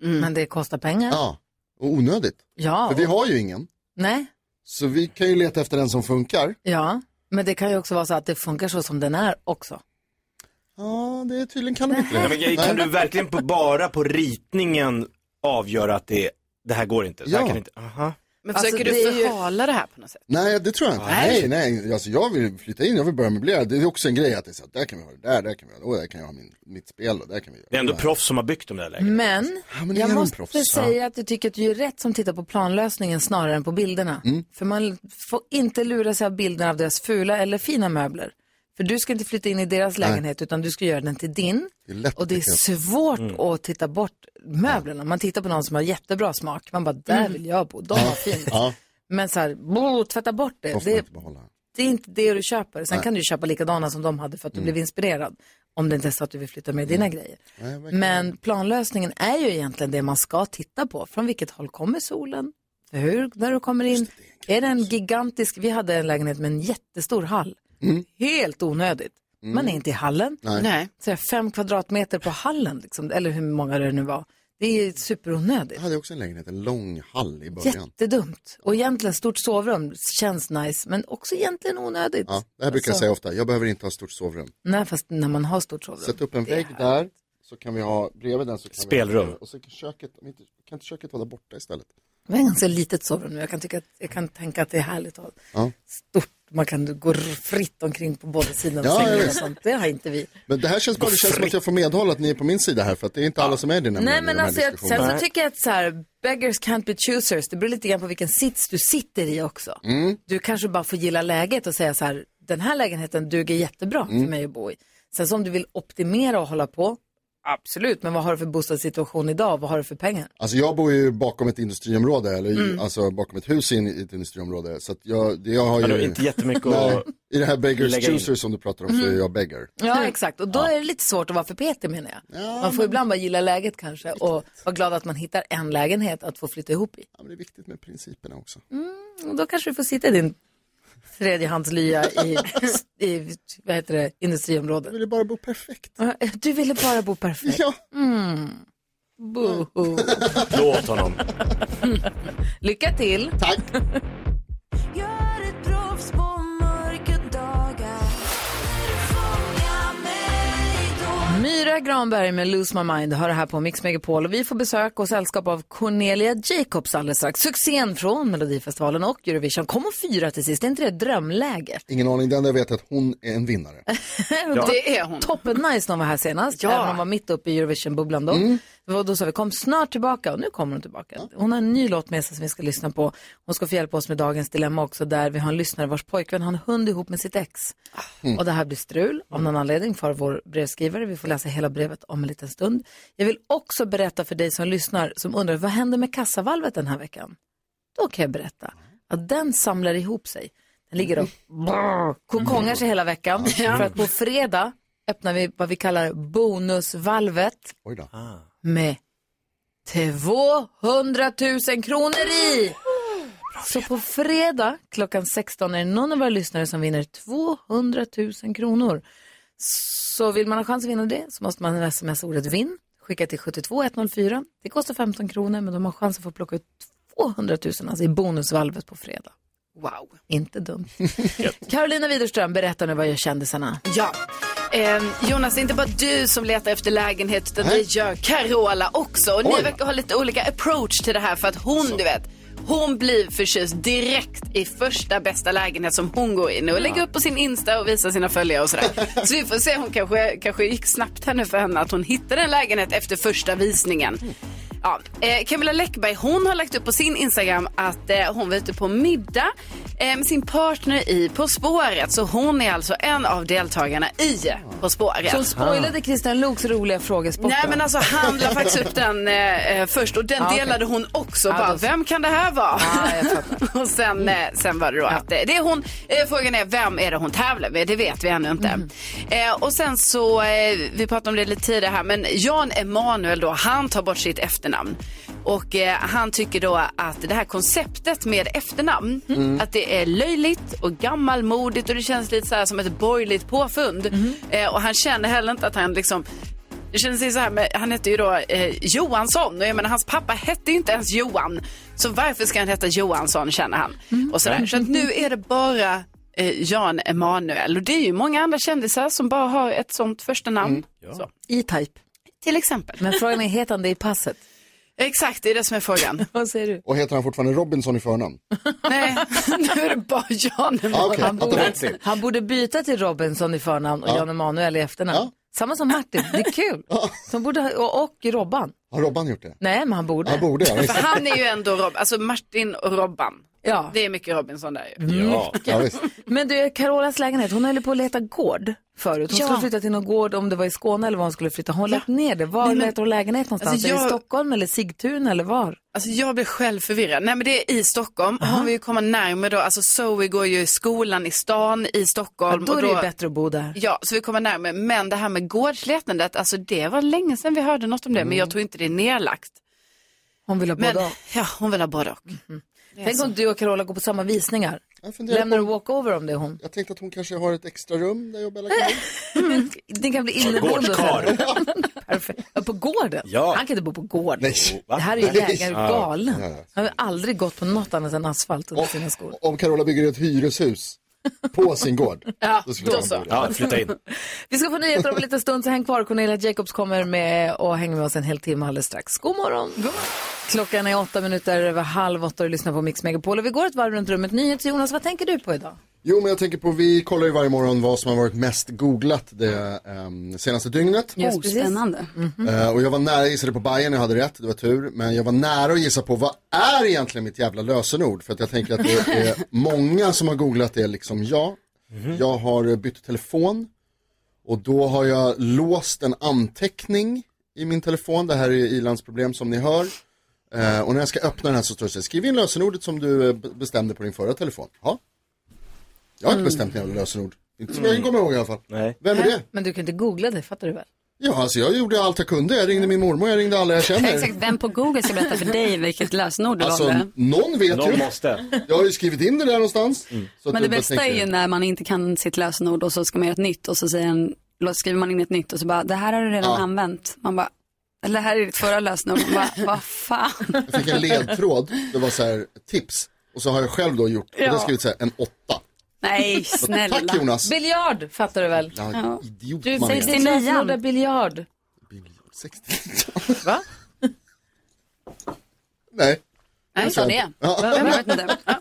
S1: men det kostar pengar.
S3: Ja, och onödigt.
S1: Ja.
S3: För vi har ju ingen,
S1: Nej,
S3: så vi kan ju leta efter en som funkar.
S1: ja. Men det kan ju också vara så att det funkar så som den är också.
S3: Ja, det är tydligen kan de inte
S2: Ja, men kan du verkligen på, bara på ritningen avgöra att det, det här går inte? Det här
S3: Ja.
S2: kan inte aha.
S4: Men
S1: Alltså,
S4: försöker
S1: det är
S4: du
S1: ju-
S4: förhala det här på något sätt?
S3: Nej, det tror jag inte.
S4: Nej.
S3: Nej, nej, alltså jag vill flytta in, jag vill börja möblera. Det är också en grej att det är så här, där kan vi ha det där, där kan vi ha det, och där kan jag ha min, mitt spel och där kan vi göra
S2: Det är ändå proffs som har byggt de där lägenheterna.
S1: Men,
S3: men är
S1: jag
S3: de
S1: måste
S3: proffs?
S1: säga att jag tycker att du är rätt som tittar på planlösningen snarare än på bilderna.
S3: Mm.
S1: För man får inte lura sig av bilderna av deras fula eller fina möbler. För du ska inte flytta in i deras
S3: Nej.
S1: lägenhet utan du ska göra den till din.
S3: Det är lätt
S1: och det är
S3: att tycka.
S1: svårt att titta bort möblerna. Man tittar på någon som har jättebra smak. Man bara, där vill jag bo, de har fint.
S3: Ja,
S1: Men så här, bo, tvätta bort det.
S3: måste man
S1: Det,
S3: inte behålla.
S1: det Mm. är inte det du köper. Sen
S3: Nej.
S1: kan du köpa likadana som de hade för att du blev inspirerad. Om det inte är så att du vill flytta med dina grejer.
S3: Nej, verkligen.
S1: Men planlösningen är ju egentligen det man ska titta på. Från vilket håll kommer solen? Hur, när du kommer in? är det en gigantisk, vi hade en lägenhet med en jättestor hall. Helt onödigt. Man är inte i hallen.
S3: Nej. Nej.
S1: Så jag, fem kvadratmeter på hallen, liksom, eller hur många det nu var. Det är superonödigt.
S3: Jag hade också en lägenhet, en lång hall i början.
S1: Jättedumt. Och egentligen stort sovrum känns nice, men också egentligen onödigt.
S3: Ja, det här brukar jag
S1: Alltså,
S3: säga ofta, jag behöver inte ha stort sovrum.
S1: Nej, fast när man har stort sovrum.
S3: Sätt upp en
S1: Det är
S3: vägg
S1: härligt.
S3: där, så kan vi ha, bredvid den så kan vi
S2: Spelrum.
S3: ha, och så kan köket, om inte, kan inte köket vara där borta istället?
S1: Det var ett ganska litet sovrum nu. Jag kan, tycka att, jag kan tänka att det är härligt att ha
S3: Ja.
S1: stort. Man kan gå r- fritt omkring på båda sidorna.
S3: Ja,
S1: av sängen
S3: ja,
S1: och
S3: visst.
S1: sånt. Det har inte vi.
S3: Men det här känns bara, det känns som att jag får medhåll att ni är på min sida här, för att det är inte alla som är det nämligen
S1: Nej,
S3: i
S1: men
S3: de här
S1: alltså, jag, sen
S3: diskussionerna.
S1: så tycker jag att så här, beggars can't be choosers. Det beror lite grann på vilken sits du sitter i också.
S3: Mm.
S1: Du kanske bara får gilla läget och säga så här, den här lägenheten duger jättebra
S3: Mm.
S1: för mig att bo i. Sen så om du vill optimera och hålla på, absolut. Men vad har du för bostadssituation idag? Vad har du för pengar?
S3: Alltså jag bor ju bakom ett industriområde, eller
S1: Mm.
S3: alltså bakom ett hus in i ett industriområde. Så att jag, det, jag har
S2: Ja,
S3: ju...
S2: då, inte jättemycket
S3: Nej,
S2: att
S3: I det här beggars
S2: lägga in.
S3: choosers som du pratar om så är
S1: Mm.
S3: jag beggar.
S1: Ja, [LAUGHS] exakt. Och då är det lite svårt att vara för petig menar jag. man får
S3: men-
S1: ibland bara gilla läget kanske och vara glad att man hittar en lägenhet att få flytta ihop i.
S3: Ja, men det är viktigt med principerna också.
S1: Och Mm, då kanske du får sitta i din tredjehandslya
S3: [LAUGHS]
S1: i, i vad heter det, industriområdet. Du
S3: ville bara bo perfekt.
S1: Du ville bara bo
S3: [LAUGHS]
S1: perfekt.
S3: Ja.
S1: Mm. Boho.
S12: Mm.
S2: Låt honom.
S1: Lycka till.
S3: Tack.
S1: [LAUGHS] Myra Granberg med Lose My Mind har det här på Mix Megapol och vi får besök och sällskap av Cornelia Jacobs alldeles strax. Succén från Melodifestivalen och Eurovision. Kom och fyra till sist, är inte det ett drömläge?
S3: Ingen aning, det enda jag vet är att hon är en vinnare.
S1: [LAUGHS] Det är hon. Toppen nice när hon var här senast.
S4: Ja.
S1: Även om hon var mitt uppe i Eurovision-bubblan då. Då, då sa vi kom snart tillbaka och nu kommer hon tillbaka. Hon har en ny låt med sig som vi ska lyssna på. Hon ska få hjälpa oss med dagens dilemma också där vi har en lyssnare vars pojkvän har en hund ihop med sitt ex.
S4: Mm.
S2: Mm.
S1: Och det här blir strul av någon anledning för vår brevskrivare. Vi får läsa hela brevet om en liten stund. Jag vill också berätta för dig som lyssnar som undrar vad händer med kassavalvet den här veckan? Då kan jag berätta att den samlar ihop sig. Den ligger och kokongar sig hela veckan. För att på fredag öppnar vi vad vi kallar bonusvalvet
S3: Oj då.
S12: Ah.
S1: med 200 000 kronor i. Så på fredag klockan 16 är det någon av våra lyssnare som vinner 200 000 kronor. Så vill man ha chans att vinna det så måste man smsa ordet vinn, skicka till 72104. Det kostar 15 kronor men de har chans att få plocka ut 200 000 alltså i bonusvalvet på fredag.
S4: Wow.
S1: Inte
S4: [LAUGHS]
S1: dumt. Carolina Widerström, berätta nu vad gör kändisarna?
S4: Ja. Eh, Jonas, det är inte bara du som letar efter lägenhet utan det gör Carola också. Och ni
S1: Oj.
S4: verkar ha lite olika approach till det här för att hon, du vet, hon blir förtjust direkt i första bästa lägenhet som hon går in i och
S13: Ja.
S4: lägger upp på sin Insta och visar sina följare och sådär. Så vi får se, hon kanske, kanske gick snabbt här nu för henne att hon hittade en lägenhet efter första visningen. Ja, eh, Camilla Läckberg hon har lagt upp på sin Instagram att eh, hon var ute på middag eh, med sin partner i På spåret. Så hon är alltså en av deltagarna i På spåret.
S1: Som spoilade Christian Loks roliga frågesport.
S4: Nej men alltså han la faktiskt upp den eh, eh, först och den
S1: Ah, okej.
S4: delade hon också.
S1: Ah,
S4: bara,
S1: då så.
S4: vem kan det här vara? [LAUGHS] och sen, eh, sen var det då att eh, det är hon. Eh, frågan är vem är det hon tävlar med? Det vet vi ännu inte.
S1: Mhm.
S4: Eh, och sen så, eh, vi pratade om det lite tidigare här, men Jan Emanuel då, han tar bort sitt efternamn. Och eh, han tycker då att det här konceptet med efternamn,
S13: Mm.
S4: att det är löjligt och gammalmodigt och det känns lite så här som ett borgerligt påfund.
S1: Mm.
S4: Eh, och han känner heller inte att han liksom det känns ju så här med, han hette ju då eh, Johansson och jag menar hans pappa hette ju inte ens Johan. Så varför ska han heta Johansson känner han.
S1: Mm.
S4: Och sådär. Så att nu är det bara eh, Jan Emanuel och det är ju många andra kändisar som bara har ett sånt första namn. Så.
S1: Mm. E-Type.
S4: Till exempel.
S1: Men frågan är, heter han det i passet?
S4: Exakt, det är det som är frågan.
S1: [LAUGHS] Vad säger du?
S3: Och heter han fortfarande Robinson i förnamn?
S1: [LAUGHS]
S4: Nej, nu är det bara Jan Emanuel.
S3: Ah, okej.
S1: han,
S3: Att det
S1: borde,
S3: var det.
S1: han borde byta till Robinson i förnamn och
S3: Ja.
S1: Jan Emanuel i efternamn. Samma som Martin, det är kul. De borde, ha- och, och Robban.
S3: Har Robban gjort det?
S1: Nej, men han borde.
S3: Han borde, ja, visst.
S4: För han är ju ändå Rob, alltså Martin och Robban.
S1: Ja.
S4: Det är mycket Robinson där ju.
S3: [LAUGHS] Ja. ja visst.
S1: Men du, Carolas lägenhet, hon höll på att leta gård förut. Hon
S4: Ja.
S1: skulle flytta till någon gård, om det var i Skåne eller var hon skulle flytta. Hon har lagt ner det. Var
S4: Nej, men-
S1: letar hon lägenhet någonstans?
S4: Alltså,
S1: Är det
S4: jag-
S1: I Stockholm eller Sigtuna eller var?
S4: Alltså jag blir själv förvirrad. Nej men det är i Stockholm. Hon vill ju komma närmare då. Alltså Zoe går ju i skolan i stan i Stockholm.
S1: då
S4: och
S1: är det ju bättre att bo där.
S4: Ja, så vi kommer närmare. Men det här med gårdsletandet, alltså det var länge sedan vi hörde något om det.
S1: Mm.
S4: Men jag tror inte det är nedlagt.
S1: Hon vill ha
S4: Men,
S1: både och.
S4: Ja, hon vill ha både och.
S1: Mm-hmm.
S4: Det är
S1: Tänk
S4: så.
S1: om du och Carola går på samma visningar.
S3: funderar
S1: Lämnar du walkover om det är hon?
S3: Jag tänkte att hon kanske har ett extra rum där jag och Bella
S1: [LAUGHS]
S3: kan bo.
S1: Mm. Det kan bli inneboende.
S3: Gårdkarl.
S1: Perfekt. Ja, På gården?
S3: Ja.
S1: Han kan inte bo på gården.
S3: Nej.
S1: Det här är ju
S3: Nej.
S1: lägaren
S3: Ja.
S1: galen.
S3: Ja, ja.
S1: Han har aldrig gått på något annat än asfalt under sina skor.
S3: Om Carola bygger ett hyreshus på sin gård.
S1: Ja,
S3: skulle
S1: då
S3: hon
S1: så.
S3: bo där.
S1: Ja, flytta in. Vi ska få nyheter om en liten stund, så häng kvar. Cornelia Jacobs kommer med och hänger med oss en hel timme alldeles strax. God morgon! Klockan är åtta minuter över halv åtta och du lyssnar på Mix Megapol. Och vi går ett varv runt rummet. Nyhets Jonas, vad tänker du på idag?
S3: Jo, men jag tänker på, vi kollar ju varje morgon vad som har varit mest googlat det ehm, senaste dygnet.
S4: Oh, spännande.
S2: Mhm.
S1: Mm-hmm.
S3: Eh, och jag var nära, jag gissade på Bayern, jag hade rätt, det var tur. Men jag var nära att gissa på vad är egentligen mitt jävla lösenord? För att jag tänker att det är
S1: [LAUGHS]
S3: många som har googlat det liksom jag.
S1: Mm-hmm.
S3: Jag har bytt telefon och då har jag låst en anteckning i min telefon. Det här är ilandsproblem som ni hör. Eh, och när jag ska öppna den här så står det så här, skriv in lösenordet som du eh, b- bestämde på din förra telefon. Ja. Jag har inte
S1: Mm.
S3: bestämt några lösenord. Inte som jag kan komma ihåg i alla fall. Vem är
S1: Nej,
S3: det?
S1: Äh? Men du kan inte googla det, fattar du väl?
S3: Ja, alltså jag gjorde allt jag kunde. Jag ringde min mormor, jag ringde alla jag känner.
S13: Exakt, vem på Google ska berätta för dig vilket lösenord du
S3: Alltså,
S13: valde?
S3: någon vet
S2: Någon
S3: ju.
S2: måste. Mm.
S3: Jag har ju skrivit in det där någonstans. Så att
S13: Men det
S3: jag bara
S13: bästa är
S3: tänker-
S13: ju när man inte kan sitt lösenord och så ska man göra ett nytt och så säger en, låt- skriver man in ett nytt och så bara, det här har du redan
S3: Ja.
S13: använt. Man bara, eller det här är ditt förra lösenord. Man bara, vad fan.
S3: Jag fick en ledtråd, det var så här tips. Och så har jag själv då gjort, och då har jag skrivit så här, en åtta.
S1: [LAUGHS]
S13: Nej, snälla.
S3: Tack, Jonas.
S1: Biljard, fattar du väl?
S3: Ja,
S13: Ja.
S3: idiot
S1: Du
S3: man
S1: säger
S3: är.
S1: till lösenordet biljard. Va?
S3: Nej.
S13: Nej, sa det.
S3: Ja.
S1: Va- va-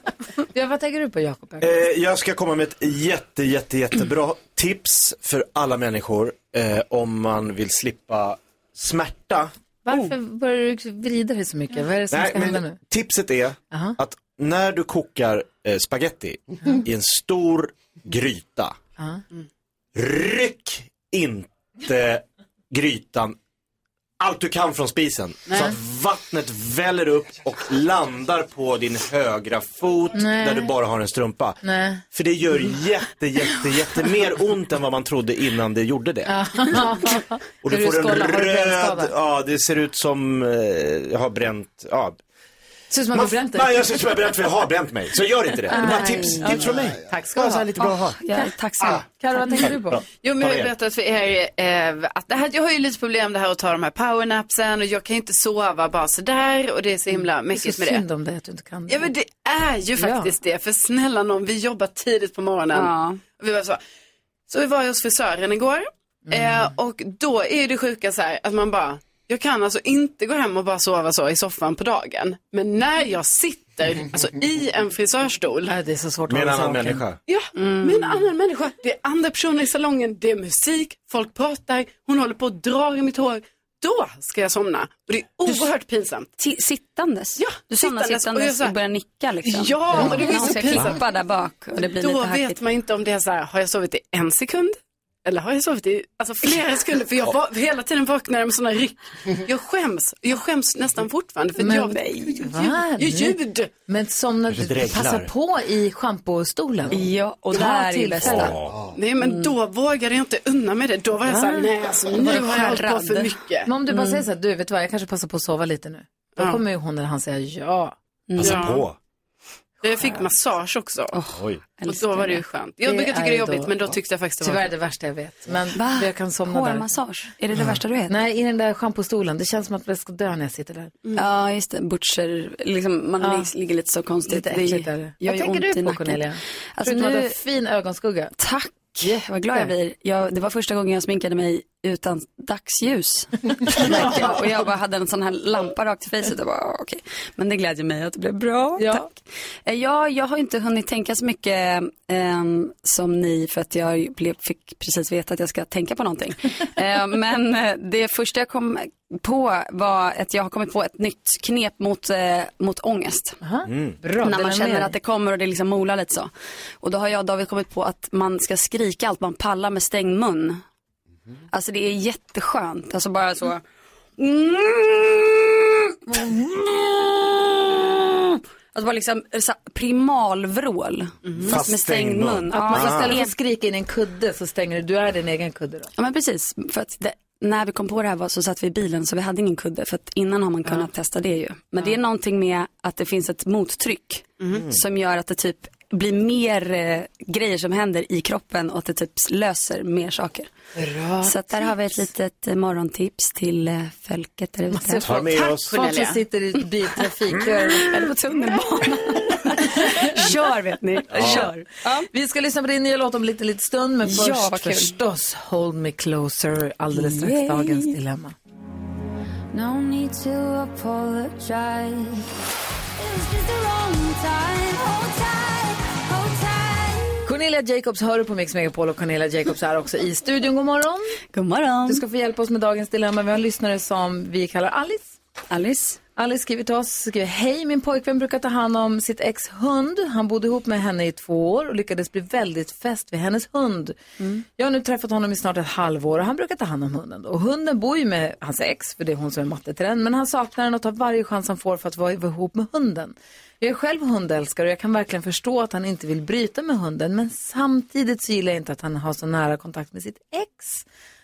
S1: Ja, vad tänker du på, Jakob?
S2: Eh, jag ska komma med ett jätte, jätte, jättebra tips för alla människor eh, om man vill slippa smärta.
S4: Oh.
S1: Varför börjar du vrida dig så mycket? Vad är det som
S2: Nej,
S1: ska hända
S2: men
S1: nu?
S2: Tipset är att när du kokar eh, spaghetti
S1: Mm.
S2: i en stor gryta,
S1: Ja.
S2: ryck inte grytan allt du kan från spisen. Så att vattnet väller upp och landar på din högra fot
S1: Nej.
S2: där du bara har en strumpa.
S1: [LAUGHS] Nej.
S2: För det gör jätte, jätte, jätte mer ont än vad man trodde innan det gjorde det. Och du
S1: Ska du
S2: får en
S1: skålla? Har du brännskada?
S2: röd, ja det ser ut som eh, jag har bränt, ja.
S1: Ser ut som att man bränt dig.
S14: Nej, jag ser ut som jag har bränt för jag har bränt mig. Så gör inte det. Det var
S1: Nej.
S14: tips,
S1: Ja,
S14: tips från mig.
S1: Tack ska
S14: Bara
S1: du
S14: så
S1: ha.
S14: här lite bra att ha.
S4: Ah,
S1: Ja, tack ska du ha. Karo, vad tänker du på?
S4: Jo, men jag
S1: Bara
S4: har
S1: er.
S4: berättat för er eh, att det här, jag har ju lite problem det här att ta de här powernapsen och jag kan inte sova bara sådär och det är så himla
S1: Mm. Det är
S4: mäckigt
S1: så
S4: med det.
S1: synd om dig att du inte kan
S4: Ja men det är ju faktiskt det, för snälla någon, vi jobbar tidigt på morgonen.
S1: Ja.
S4: Och vi var så. så vi var ju hos frisören igår
S13: Mm.
S4: eh, och då är ju det sjuka så här att man bara, jag kan alltså inte gå hem och bara sova så i soffan på dagen. Men när jag sitter alltså, i en frisörstol.
S1: det är så svårt
S14: Med en annan människa.
S4: Ja,
S13: Mm.
S4: med en annan människa. Det är andra personer i salongen, det är musik, folk pratar, hon håller på och drar i mitt hår. Då ska jag somna. Och det är oerhört pinsamt.
S13: Ti- sittandes?
S4: Ja,
S13: Du somnar
S4: jag
S13: sittandes
S4: så
S13: och,
S4: här-
S13: börjar nicka liksom?
S4: Ja, och det blir
S13: När hon
S4: så
S13: ska
S4: pinsamt.
S13: klippa där bak och det blir
S4: Då
S13: lite
S4: vet
S13: hackigt.
S4: man inte om det är så här, har jag sovit i en sekund? Eller har jag sovit i alltså, flera sekunder? För jag va- hela tiden vaknar jag med sådana ryck. Jag skäms, jag skäms nästan fortfarande. För
S1: Men
S4: jag,
S1: nej,
S4: jag,
S1: va?
S4: jag, ljud.
S1: Men somna,
S4: Kanske dreglar.
S1: passa på i schampostolen.
S13: Ja, och
S1: Ta
S13: där är det
S1: tillfället.
S13: bästa.
S4: Nej men då vågade jag inte unna mig det. Då var jag så här,
S1: Va?
S4: nej alltså
S1: Mm. Då var
S4: nu
S1: du
S4: har jag hållit på
S1: skärrad.
S4: för mycket.
S1: Men om du bara
S4: Mm.
S1: säger så här, du vet du vad, jag kanske passar på att sova lite nu. Då
S4: Ja.
S1: kommer ju hon eller han säga ja.
S14: Passa på.
S4: Mm. Jag fick massage också.
S14: Oj.
S4: och då var det ju skönt. Jag brukar tycka det är jobbigt men då tyckte jag faktiskt det var
S1: Tyvärr
S4: skönt.
S1: det värsta jag vet. Men
S13: Va?
S1: jag kan somna där.
S13: Hårmassage? Är det det värsta du vet?
S1: Nej, i den där schampostolen. Det känns som att jag ska dö när jag sitter där.
S13: Ja, just det. Butcher, liksom, man
S1: Ja.
S13: ligger- ligger lite så konstigt.
S1: Lite
S13: Det
S1: äckligt är det.
S13: gör
S1: Vad
S13: ju
S1: tänker
S13: ont i
S1: du på
S13: nacken.
S1: Cornelia?
S13: Alltså,
S1: Förutom att du har
S13: nu-
S1: fin ögonskugga.
S13: Tack! Vad glad jag blir. Jag, det var första gången jag sminkade mig utan dagsljus. [LAUGHS] Verkligen. och jag bara hade en sån här lampa rakt i fejset och bara, "Ah, okej. Men det glädjer mig att det blev bra. Tack. Eh, Ja, jag har inte hunnit tänka så mycket ehm, som ni för att jag blev, fick precis veta att jag ska tänka på någonting. Eh, men eh, det första jag kom på var att jag har kommit på ett nytt knep mot, eh, mot ångest.
S1: Bra,
S13: När
S1: dela
S13: man känner
S1: med
S13: att det kommer och det liksom molar lite så. Och då har jag och David kommit på att man ska skrika allt man pallar med stängd mun. Alltså det är jätteskönt. Alltså bara så. Alltså bara liksom så här, primalvrål. Fast med stängd mun. Ah.
S1: Att man
S13: fast
S1: istället för
S13: det är-
S1: att skrika in i en kudde så stänger du, du är din egen kudde då.
S13: Ja men precis, för att det, när vi kom på det här var så satt vi i bilen så vi hade ingen kudde för att innan har man kunnat testa det ju. Men det är någonting med att det finns ett mottryck
S1: Mm.
S13: som gör att det typ blir mer eh, grejer som händer i kroppen och att det typ s- löser mer saker. så att där har vi ett litet eh, morgontips till eh, folket där ute.
S1: Ta med Tack, oss. folk som sitter i biltrafik.
S13: [LAUGHS]
S1: Eller [LAUGHS]
S13: på tunnelbanan. Kör vet ni, kör.
S1: Vi ska lyssna på din nya låt om lite, lite stund, men först
S13: Ja, vad kul.
S1: förstås Hold Me Closer, alldeles strax
S13: Yay.
S1: dagens dilemma.
S12: No need to apologize.
S1: Cornelia Jacobs hör du på Mix Megapol och Cornelia Jacobs är också i studion. God morgon.
S13: God morgon.
S1: Du ska få hjälpa oss med dagens dilemma. Vi har en lyssnare som vi kallar Alice.
S13: Alice.
S1: Alice skriver till oss, skriver hej min pojkvän brukar ta hand om sitt ex hund. Han bodde ihop med henne i två år och lyckades bli väldigt fäst vid hennes hund.
S4: Mm.
S1: Jag har nu träffat honom i snart ett halvår och han brukar ta hand om hunden. Då. Och hunden bor ju med hans ex, för det är hon som är matte till den. Men han saknar den och tar varje chans han får för att vara ihop med hunden. Jag är själv hundälskare och jag kan verkligen förstå att han inte vill bryta med hunden. Men samtidigt så gillar jag inte att han har så nära kontakt med sitt ex.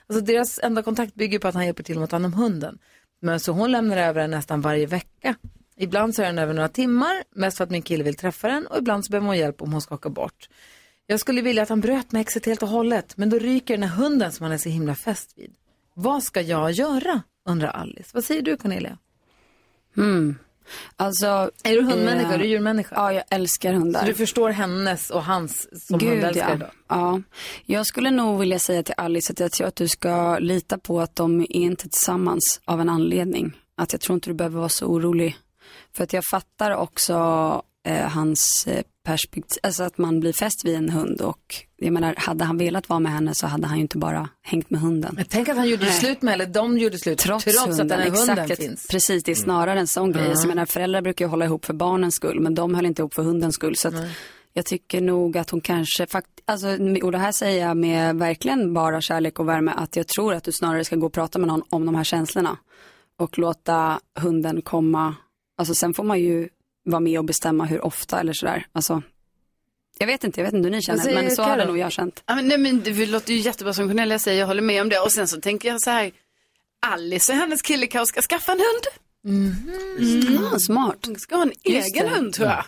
S1: Alltså deras enda kontakt bygger på att han hjälper till med att ta hand om hunden. Men så hon lämnar över den nästan varje vecka. Ibland så är den över några timmar, mest för att min kille vill träffa den och ibland så behöver hon hjälp om hon ska åka bort. Jag skulle vilja att han bröt med exet helt och hållet, men då ryker den här hunden som han är så himla fäst vid. Vad ska jag göra? undrar Alice. Vad säger du Cornelia?
S13: Mm. Alltså,
S1: är du hundmänniska? Är du djurmänniska?
S13: Ja, jag älskar hundar.
S1: Så du förstår hennes och hans som hundälskare
S13: ja.
S1: då?
S13: ja. Jag skulle nog vilja säga till Alice att jag tror att du ska lita på att de är inte tillsammans av en anledning. Att jag tror inte du behöver vara så orolig. För att jag fattar också eh, hans eh, perspektiv, alltså att man blir fäst vid en hund och jag menar, hade han velat vara med henne så hade han ju inte bara hängt med hunden.
S1: Men tänk att han gjorde slut med, eller de gjorde slut, trots, att den här hunden
S13: exakt,
S1: finns.
S13: Precis, det är snarare en sån grej. Alltså,
S1: Mm.
S13: Jag menar, föräldrar brukar ju hålla ihop för barnens skull, men de höll inte ihop för hundens skull. Så att jag tycker nog att hon kanske, fakt- alltså, och det här säger jag med verkligen bara kärlek och värme, att jag tror att du snarare ska gå och prata med någon om de här känslorna. Och låta hunden komma, alltså sen får man ju vara med och bestämma hur ofta eller sådär. Alltså, jag vet inte, jag vet inte hur ni känner,
S4: säger
S13: men så har det
S4: Karo?
S13: nog jag känt.
S4: Ja, men, nej, men det låter ju jättebra som Cornelia säger, jag håller med om det. Och sen så tänker jag så här, Alice och hennes kille kanske ska skaffa en hund.
S13: Ah, smart.
S4: Ska ha en
S13: Just
S4: Mm. egen
S13: det.
S4: hund tror jag.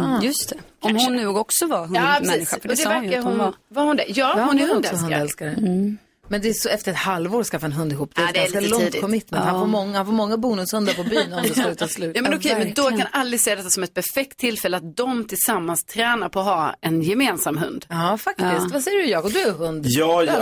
S13: Mm, Just det. Om hon nu också var
S4: Ja, precis.
S13: hundmänniska. för
S4: Och det
S13: sa hon ju
S4: verkar
S13: att
S4: hon,
S13: var.
S4: var. hon det? Ja, hon är
S1: också
S4: hundälskare.
S1: Mm. Men det är så, efter ett halvår skaffa en hund ihop. Det är,
S4: Ja,
S1: ett
S4: det är
S1: ganska
S4: lite
S1: långt
S4: tidigt.
S1: commitment.
S4: Ja.
S1: Han, får många, han får många bonushundar på byn om det ska ta slut.
S4: Ja, men okej, men då kan Alice se detta som ett perfekt tillfälle att de tillsammans tränar på att ha en gemensam hund.
S1: Ja, faktiskt. Vad säger du Jakob? Du är hund.
S2: Ja,
S1: Du har alltid haft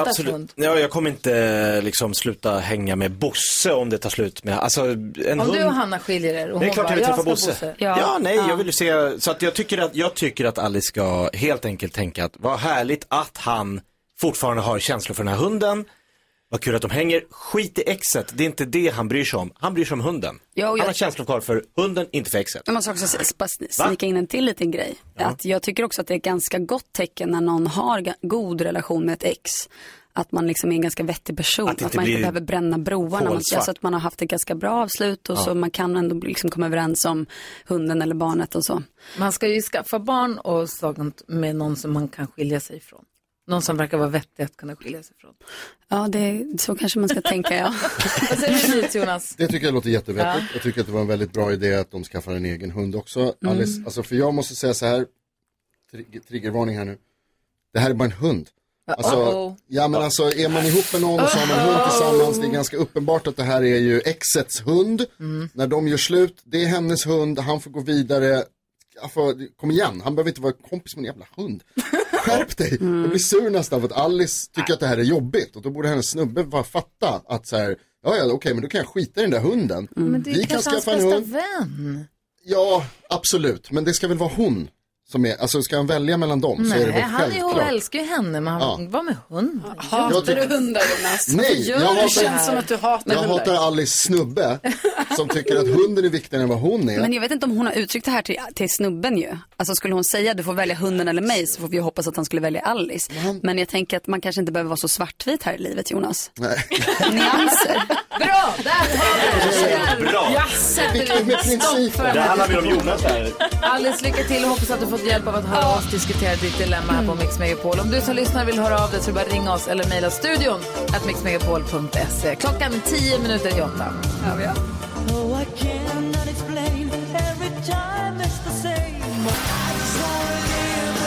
S2: absolut.
S1: hund.
S2: Ja, jag kommer inte liksom sluta hänga med Bosse om det tar slut med, alltså en
S1: Om
S2: hund.
S1: du och Hanna skiljer er och
S2: det är
S1: hon
S2: klart
S1: bara,
S2: jag vill träffa
S1: ska
S2: Bosse. Ja. nej, jag vill ju se, så att jag tycker att, jag tycker att Alice ska helt enkelt tänka att vad härligt att han fortfarande har känslor för den här hunden. Vad kul att de hänger. Skit i exet, det är inte det han bryr sig om. Han bryr sig om hunden.
S13: Ja, och jag-
S2: Han har känslor kvar för hunden, inte för exet.
S13: Jag måste också s- bara sn-
S2: Va?
S13: snicka in en till liten grej. Att jag tycker också att det är ett ganska gott tecken när någon har ga- god relation med ett ex. Att man liksom är en ganska vettig person.
S1: Att
S13: Att,
S1: det inte
S13: man inte
S1: blir
S13: behöver bränna broarna. Man,
S1: kolsvart.
S13: alltså att man har haft ett ganska bra avslut och
S1: Ja.
S13: så man kan ändå liksom komma överens om hunden eller barnet och så.
S1: Man ska ju skaffa barn och sånt med någon som man kan skilja sig ifrån. Någon som verkar vara vettig att kunna skilja sig ifrån.
S13: Ja, det, så kanske man ska tänka ja.
S1: Vad säger du Jonas?
S3: Det tycker jag låter jättevettigt.
S1: Ja.
S3: Jag tycker att det var en väldigt bra idé att de skaffar en egen hund också.
S13: Mm.
S3: Alice, alltså för jag måste säga så här, trig- triggervarning här nu. Det här är bara en hund. Alltså,
S15: Uh-oh.
S3: ja men alltså är man ihop med någon och så har man en hund tillsammans, det är ganska uppenbart att det här är ju exets hund.
S4: Mm.
S3: När de gör slut, det är hennes hund, han får gå vidare. Alltså, kom igen, han behöver inte vara kompis med en jävla
S1: [LAUGHS]
S3: hund. Skärp dig!
S1: Mm.
S3: Jag blir sur nästan för att Alice tycker att det här är jobbigt och då borde hennes snubbe bara fatta att så här, ja ja okej men då kan jag skita i den där hunden.
S1: Mm. Men det är kanske hans bästa vän.
S3: Ja, absolut, men det ska väl vara hon som är, alltså ska han välja mellan dem så är det
S1: Nej,
S3: väl
S1: han är, hon
S3: självklart.
S1: älskar ju henne, men han
S3: Ja.
S1: var med hund.
S3: Jag tycker-
S4: hundar Jonas?
S1: Alltså,
S3: Nej, jag hatar,
S4: hatar
S3: jag hatar Alice snubbe som tycker att hunden är viktigare än vad hon
S1: [LAUGHS]
S3: är.
S13: [LAUGHS] Men jag vet inte om hon har uttryckt det här till, till snubben ju. Alltså skulle hon säga du får välja hunden eller mig så får vi ju hoppas att han skulle välja Alice. Men jag tänker att man kanske inte behöver vara så svartvit här i livet Jonas.
S3: Nej.
S13: Nyanser.
S1: Bra, där har
S13: vi det. Bra.
S1: Jag
S13: Viktigt med
S1: sätter stopp
S13: principer.
S1: för den
S13: Det
S1: här
S13: handlar mer om
S1: diskussionen.
S2: Jonas här.
S1: Alice, lycka till och hoppas att du fått hjälp av att höra oss diskutera ditt dilemma här på
S13: Mm.
S1: Mix Megapol. Om du som lyssnar vill höra av dig så är det bara att ringa oss eller mejla studion att mixmegapol.se. Klockan är 10 minuter i åtta.
S12: Oh, I cannot explain. Every time it's the same. I just wanna live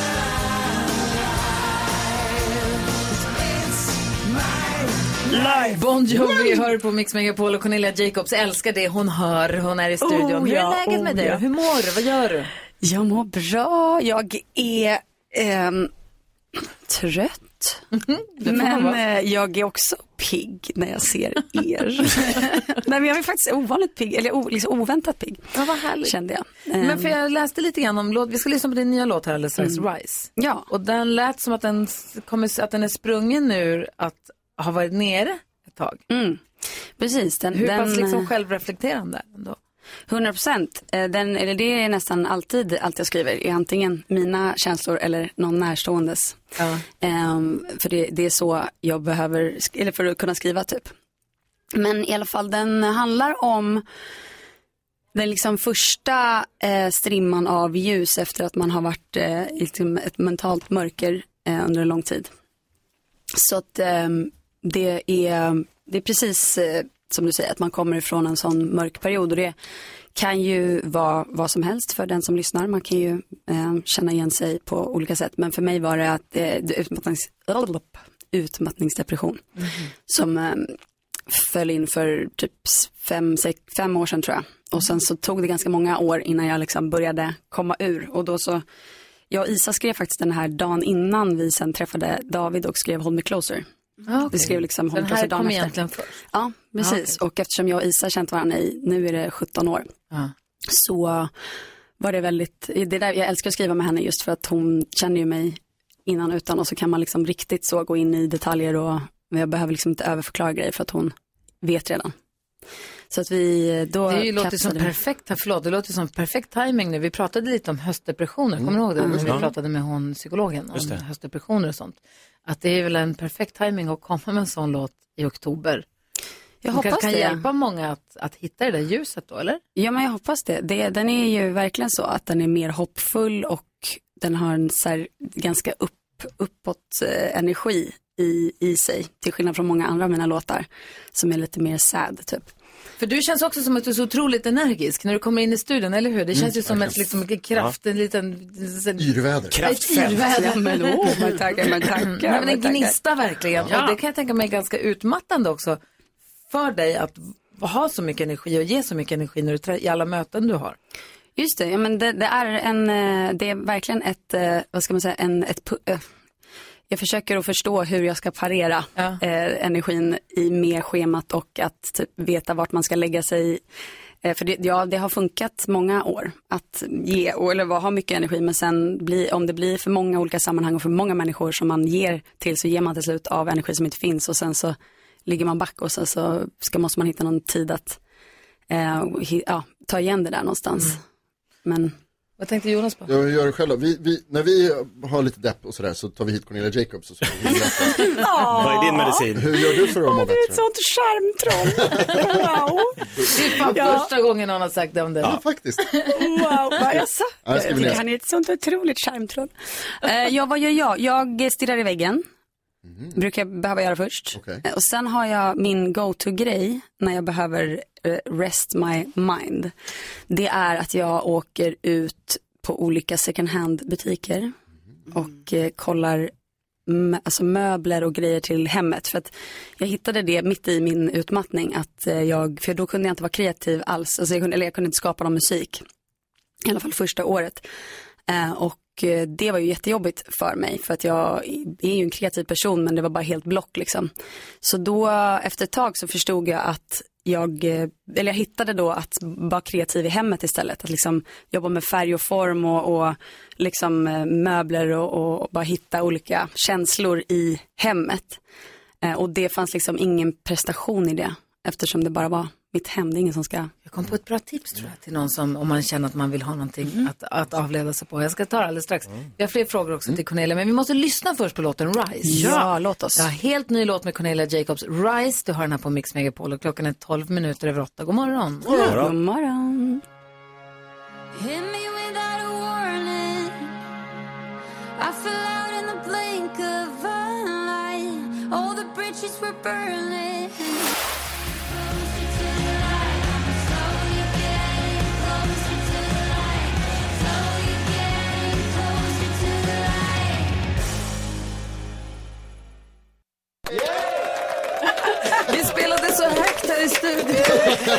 S12: my life. It's my
S1: Live. Bon Jovi hör på Mix Megapol och Cornelia Jacobs älskar det hon hör. Hon är i studion.
S13: Oh,
S1: Hur är
S13: ja,
S1: läget med
S13: oh,
S1: dig?
S13: ja.
S1: Hur mår du? Vad gör du?
S13: Jag mår bra. Jag är ehm, trött.
S1: Mhm, får man
S13: Men
S1: vara.
S13: eh, jag är också pigg när jag ser
S1: [LAUGHS]
S13: er. Nej men jag är faktiskt ovanligt pigg, eller o, liksom oväntat pigg.
S1: Ja, vad härligt.
S13: Kände jag. Ehm.
S1: Men för jag läste lite grann om låt. Vi ska lyssna på din nya låt här alldeles strax,
S13: Mm.
S1: Rise.
S13: Ja.
S1: Och den lät som att den, s- kommer, att den är sprungen ur att ha varit nere ett tag.
S13: Mm. Precis. Den,
S1: Hur
S13: den,
S1: pass liksom
S13: eh,
S1: självreflekterande är den då?
S13: 100 procent. Eh, Eller det är nästan alltid allt jag skriver. är antingen mina känslor eller någon närståendes. Ehm, för det, det är så jag behöver, sk- eller för att kunna skriva typ. Men i alla fall den handlar om den liksom första eh, strimman av ljus efter att man har varit eh, i liksom ett mentalt mörker eh, under en lång tid. Så att ehm, det, är, det är precis eh, som du säger att man kommer ifrån en sån mörk period och det kan ju vara vad som helst för den som lyssnar. Man kan ju eh, känna igen sig på olika sätt. Men för mig var det att eh, det utmattnings, utmattningsdepression som eh, föll in för typ s- fem, sex, fem år sedan tror jag. Och sen så tog det ganska många år innan jag liksom började komma ur. Och då så, jag och Isa skrev faktiskt den här dagen innan vi sen träffade David och skrev Hold Me Closer. Vi skrev liksom Hold
S1: Ah, Den
S13: Me Closer
S1: här
S13: dagen
S1: kom
S13: efter.
S1: egentligen först. Ah,
S13: Ja, precis. Och eftersom jag och Isa har känt varandra i, nu är det 17 år, så var det väldigt, det där, jag älskar att skriva med henne just för att hon känner ju mig innan och utan och så kan man liksom riktigt så gå in i detaljer och jag behöver liksom inte överförklara grejer för att hon vet redan. Så att vi då
S1: Det är ju låter som
S13: kapslade-
S1: perfekt, förlåt, det låter som perfekt timing nu. Vi pratade lite om höstdepressioner, kommer du ihåg det?
S13: Mm.
S1: När vi
S13: Ja.
S1: pratade med hon, psykologen
S13: Just
S1: om
S13: det.
S1: höstdepressioner och sånt. Att det är väl en perfekt timing att komma med en sån låt i oktober.
S13: Jag
S1: Som kanske
S13: hoppas
S1: kan
S13: det.
S1: hjälpa många att, att hitta det där ljuset då, eller?
S13: Ja, men jag hoppas det. det. Den är ju verkligen så att den är mer hoppfull och den har en så här ganska upp, uppåt eh, energi i, i sig. Till skillnad från många andra av mina låtar som är lite mer sad typ.
S1: För du känns också som att du är så otroligt energisk när du kommer in i studion, eller hur? Det känns
S3: Mm,
S1: ju som ett,
S3: verkligen.
S1: liksom, en kraft, en liten... En,
S3: Yrväder.
S1: [LAUGHS] Ett yrväder.
S13: Ja, men, åh, man tackar, man tackar,
S1: Mm, Nej, men
S13: man
S1: en
S13: tackar.
S1: gnista verkligen.
S13: Ja.
S1: Och det kan jag tänka mig är ganska utmattande också för dig att ha så mycket energi och ge så mycket energi när du trä- i alla möten du har.
S13: Just det, ja, men det, det, är en, eh, det är verkligen ett, eh, vad ska man säga, en, ett, pu- eh, jag försöker att förstå hur jag ska parera eh, energin i med schemat och att typ, veta vart man ska lägga sig. Eh, för det, ja, det har funkat många år att ge, och- eller vad, ha mycket energi, men sen bli, om det blir för många olika sammanhang och för många människor som man ger till så ger man till slut av energi som inte finns och sen så ligger man back och sen så ska, måste man hitta någon tid att eh, hi, ja, ta igen det där någonstans. Men
S1: Vad tänkte Jonas på?
S3: Jag gör det själv då. vi, vi, När vi har lite depp och sådär så tar vi hit Cornelia Jacobs och så
S1: [LAUGHS]
S3: får vi
S16: Vad är din medicin?
S3: Hur gör du för att må bättre?
S13: sånt
S1: [LAUGHS]
S13: charmtroll. Wow.
S1: Det är fan
S13: Ja.
S1: första gången någon har sagt det om dig.
S3: Ja, faktiskt.
S13: Wow, vad jag sa.
S3: Ja, jag
S13: Jag
S3: skriver
S13: tycker
S3: ner.
S13: han är ett sånt otroligt charmtroll. Eh, ja, vad gör jag? Jag stirrar i väggen.
S3: Mhm.
S13: Brukar jag behöva göra först. Eh, Och sen har jag min go-to-grej när jag behöver eh, rest my mind. Det är att jag åker ut på olika second hand-butiker
S3: Mhm.
S13: och eh, kollar m- alltså möbler och grejer till hemmet. För att jag hittade det mitt i min utmattning, att eh, jag, för då kunde jag inte vara kreativ alls, alltså jag kunde, eller jag kunde inte skapa någon musik. I alla fall första året. Eh, och eh, det var ju jättejobbigt för mig, för att jag i- är ju en kreativ person, men det var bara helt block liksom. Så då, eh, efter ett tag så förstod jag att jag, eh, eller jag hittade då att vara kreativ i hemmet istället. Att liksom jobba med färg och form och, och liksom eh, möbler och, och bara hitta olika känslor i hemmet. Eh, Och det fanns liksom ingen prestation i det eftersom det bara var mitt hem, det är ingen som ska
S1: Jag kom på ett bra tips tror jag till någon som, om man känner att man vill ha någonting
S13: Mm.
S1: att, att avleda sig på. Jag ska ta det alldeles strax. Vi har fler frågor också till Cornelia, men vi måste lyssna först på låten Rise.
S13: Mm. Ja, låt oss.
S1: Ja, helt ny låt med Cornelia Jacobs, Rise. Du har den här på Mix Megapol och klockan är 12 minuter över 8. God morgon.
S13: God morgon. God morgon.
S12: Hit me without a warning. I fell out in the blink of an eye. All the bridges were burning.
S1: Vi spelade så högt här i studion.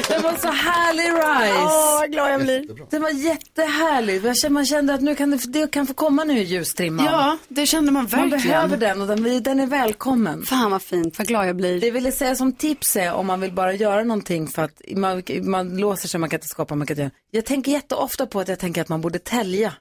S1: Det var så härlig Rise.
S12: Åh,
S1: vad glad jag blir. Det var jättehärligt. Jag kände- Man kände att nu kan det, det kan få komma nu i ljusstrimman.
S4: Ja,
S1: det kände man Man
S4: verkligen.
S1: behöver den och den, den är välkommen.
S13: Fan vad fint, vad glad jag blir.
S1: Det jag ville säga som tips är om man vill bara göra någonting för att man, man låser sig, man kan inte skapa, man kan inte göra. Jag tänker jätteofta på att jag tänker att man borde tälja.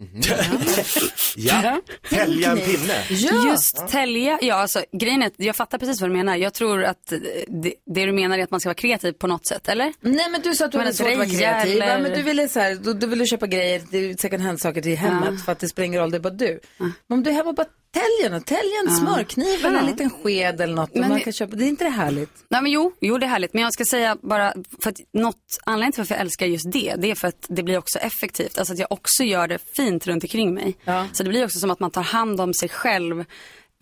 S1: [LAUGHS]
S13: Ja.
S1: Tälja en pinne. Ja.
S13: Just tälja, ja alltså grejen är, att jag fattar precis vad du menar. Jag tror att eh, det, det du menar är att man ska vara kreativ på något sätt, eller?
S1: Nej men du sa Mm, att du
S13: Men
S1: hade
S13: att
S1: svårt att vara
S13: dreja
S1: kreativ. Ja,
S13: eller-
S1: men du ville, så här, du, du ville köpa grejer, det är second hand saker till hemmet för att det spelar ingen roll, det är bara du. Men om du är hemma och bara täljer något, täljer en smörkniv eller en
S13: Ja.
S1: liten sked eller något. och
S13: Men-
S1: man kan köpa, det är inte det härligt?
S13: Nej men jo, jo det är härligt. Men jag ska säga bara, för att något, anledningen till varför jag älskar just det, det är för att det blir också effektivt. Alltså att jag också gör det fint runt omkring mig. Så det blir också som att man tar hand om sig själv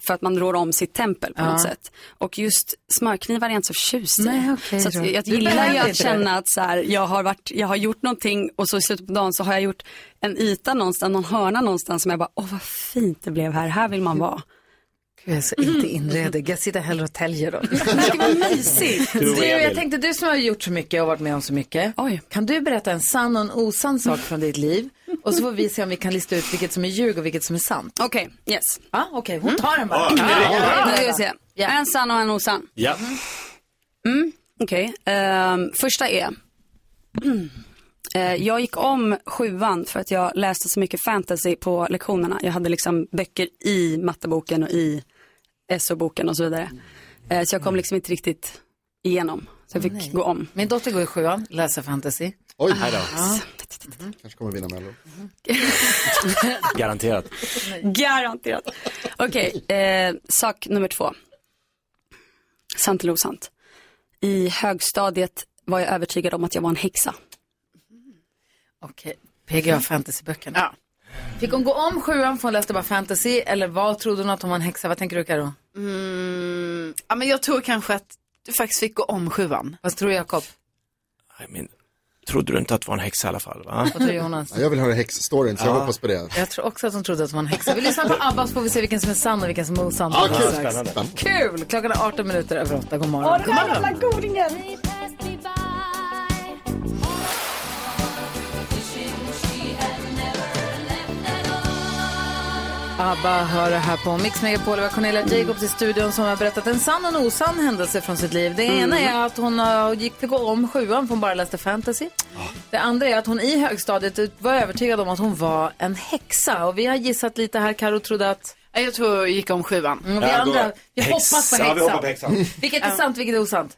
S13: för att man rår om sitt tempel på
S1: Ja.
S13: något sätt. Och just smörknivar är jag inte så förtjust i.
S1: Nej, okej
S13: så att
S1: då.
S13: jag
S1: Du
S13: gillar
S1: behöver
S13: ju att
S1: inte det.
S13: känna att så här, jag, har varit, jag har gjort någonting och så i slutet på dagen så har jag gjort en yta någonstans, någon hörna någonstans som jag bara, åh vad fint det blev här, här vill man vara. Mm.
S1: Gud, jag är så Mm. inte inredig, jag sitter hellre och täljer [LAUGHS] då.
S13: Det var mysigt.
S1: Du, jag tänkte, du som har gjort så mycket och varit med om så mycket, kan du berätta en sann och en osann sak från ditt liv? Och så får vi se om vi kan lista ut vilket som är ljug och vilket som är sant.
S13: Okej, yes.
S1: Ja, okej, hon tar den bara.
S13: Ja, Ah, det är det.
S1: Ja,
S13: Nu ska vi se. En sann och en osann.
S12: Ja.
S13: Mm, Okej, Ehm, första är. Eh, jag gick om sjuan för att jag läste så mycket fantasy på lektionerna. Jag hade liksom böcker i matteboken och i SO-boken och så vidare. Eh, så jag kom liksom inte riktigt igenom. Så jag fick gå [LAUGHS] om.
S1: Min dotter går i sjuan, läser fantasy.
S3: Oj, Mm.
S1: här då.
S3: Kanske kommer vinna Mello.
S17: Garanterat.
S13: Garanterat. Okej, eh, sak nummer två. Sant eller osant? I högstadiet var jag övertygad om att jag var en häxa.
S1: [LAUGHS] Okej, PGA fantasyböckerna. Fick hon gå om sjuan för hon läste bara fantasy eller vad trodde hon att hon var en häxa? Vad tänker du Karo?
S4: Mm, ja, men jag tror kanske att du faktiskt fick gå om sjuan.
S1: Vad tror du Jakob?
S2: I mean, trodde du inte att det var en häxa i alla fall? Va?
S1: Vad tror Jonas?
S3: Ja, jag vill höra häxstoryn, så jag
S2: Ja.
S3: hoppas på det.
S1: Jag tror också att de trodde att det var en häxa. Vi lyssnar på ABBA så får vi se vilken som är sann och vilken som är osann.
S3: Ja,
S1: Alldeles
S3: kul.
S1: strax.
S3: Spännande.
S1: Kul! Klockan är 18 minuter över 8. God morgon.
S12: Åh,
S1: God morgon.
S12: godingen!
S1: ABBA hör det här på Mix Megapol. Vi har Cornelia Jacobs i studion som har berättat en sann och en osann händelse från sitt liv. Det ena
S4: Mm.
S1: är att hon eh, gick fick gå om sjuan för hon bara läste fantasy.
S4: Ah.
S1: Det andra är att hon i högstadiet var övertygad om att hon var en häxa. Och vi har gissat lite här. Karo trodde att...
S4: Jag tror jag gick om sjuan.
S1: Mm, vi andra, vi hoppas på häxan. [LAUGHS] Vilket är
S4: Ja.
S1: sant, vilket är osant?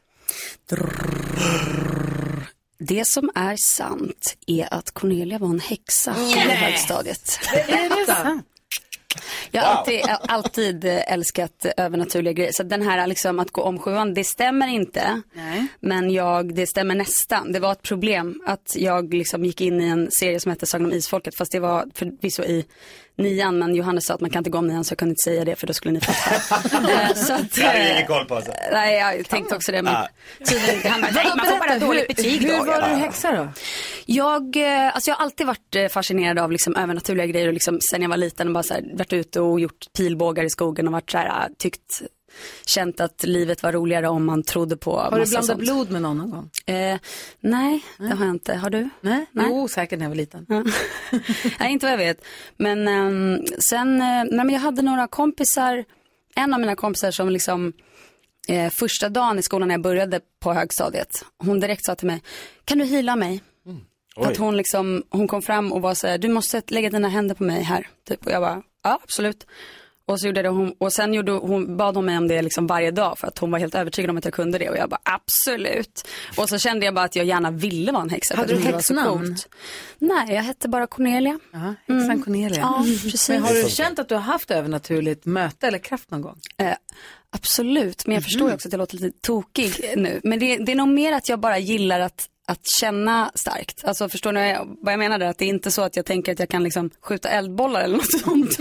S13: Det som är sant är att Cornelia var en häxa i
S1: Nej.
S13: högstadiet.
S1: Är det sant?
S13: Jag har
S1: Wow.
S13: alltid, jag har alltid eh, älskat eh, övernaturliga grejer. Så den här liksom att gå om sjuan, det stämmer inte. Men jag, det stämmer nästan. Det var ett problem att jag liksom gick in i en serie som hette Sagan om Isfolket. Fast det var förvisso i nian. Men Johannes sa att man kan inte gå om nian så jag kunde inte säga det för då skulle ni fatta.
S1: [LAUGHS]
S13: Eh, [LAUGHS] så att,
S2: Det hade vi
S13: eh,
S2: ingen koll på. Alltså.
S13: Nej, jag tänkte också det. Men
S2: Ah.
S13: tydligen inte han. bara, Nej,
S1: Vadå,
S13: man får bara
S1: berätta,
S13: dåligt
S1: hur-
S13: betyg
S1: hur
S13: då.
S1: var
S13: Jag bara,
S1: du häxa då?
S13: Jag, eh, alltså jag har alltid varit eh, fascinerad av liksom övernaturliga grejer och liksom sen jag var liten och bara så här, varit ute och gjort pilbågar i skogen och varit så här, eh, tyckt, känt att livet var roligare om man trodde på
S1: Har du blandat blod med någon någon gång?
S13: Eh, nej, det har jag inte. Har du?
S1: Nej, jo säkert när jag var liten.
S13: [LAUGHS] Nej, inte vad jag vet. Men ehm, sen, eh, nej, men jag hade några kompisar, en av mina kompisar som liksom eh, första dagen i skolan när jag började på högstadiet, hon direkt sa till mig, kan du hila mig?
S1: Mm.
S13: Att hon, liksom, hon kom fram och var så här, du måste lägga dina händer på mig här. Typ. Och jag bara, ja absolut. Och, så gjorde jag det, och hon, och sen gjorde hon, bad hon mig om det liksom varje dag för att hon var helt övertygad om att jag kunde det. Och jag bara, absolut. Och så kände jag bara att jag gärna ville vara en häxa. för
S1: Hade
S13: att
S1: du
S13: det var så
S1: häxnamn?
S13: coolt. Nej, jag hette bara Cornelia.
S1: Ja, häxan Cornelia.
S13: Mm. Ja, precis.
S1: Men har du känt att du har haft övernaturligt möte eller kraft någon gång?
S13: Eh, absolut, men jag förstår
S2: Mm.
S13: ju också att jag låter lite tokig nu. Men det, det är nog mer att jag bara gillar att, att känna starkt. Alltså förstår ni vad jag- vad jag menar där? Att det är inte så att jag tänker att jag kan liksom skjuta eldbollar eller något
S2: [LAUGHS]
S13: sånt.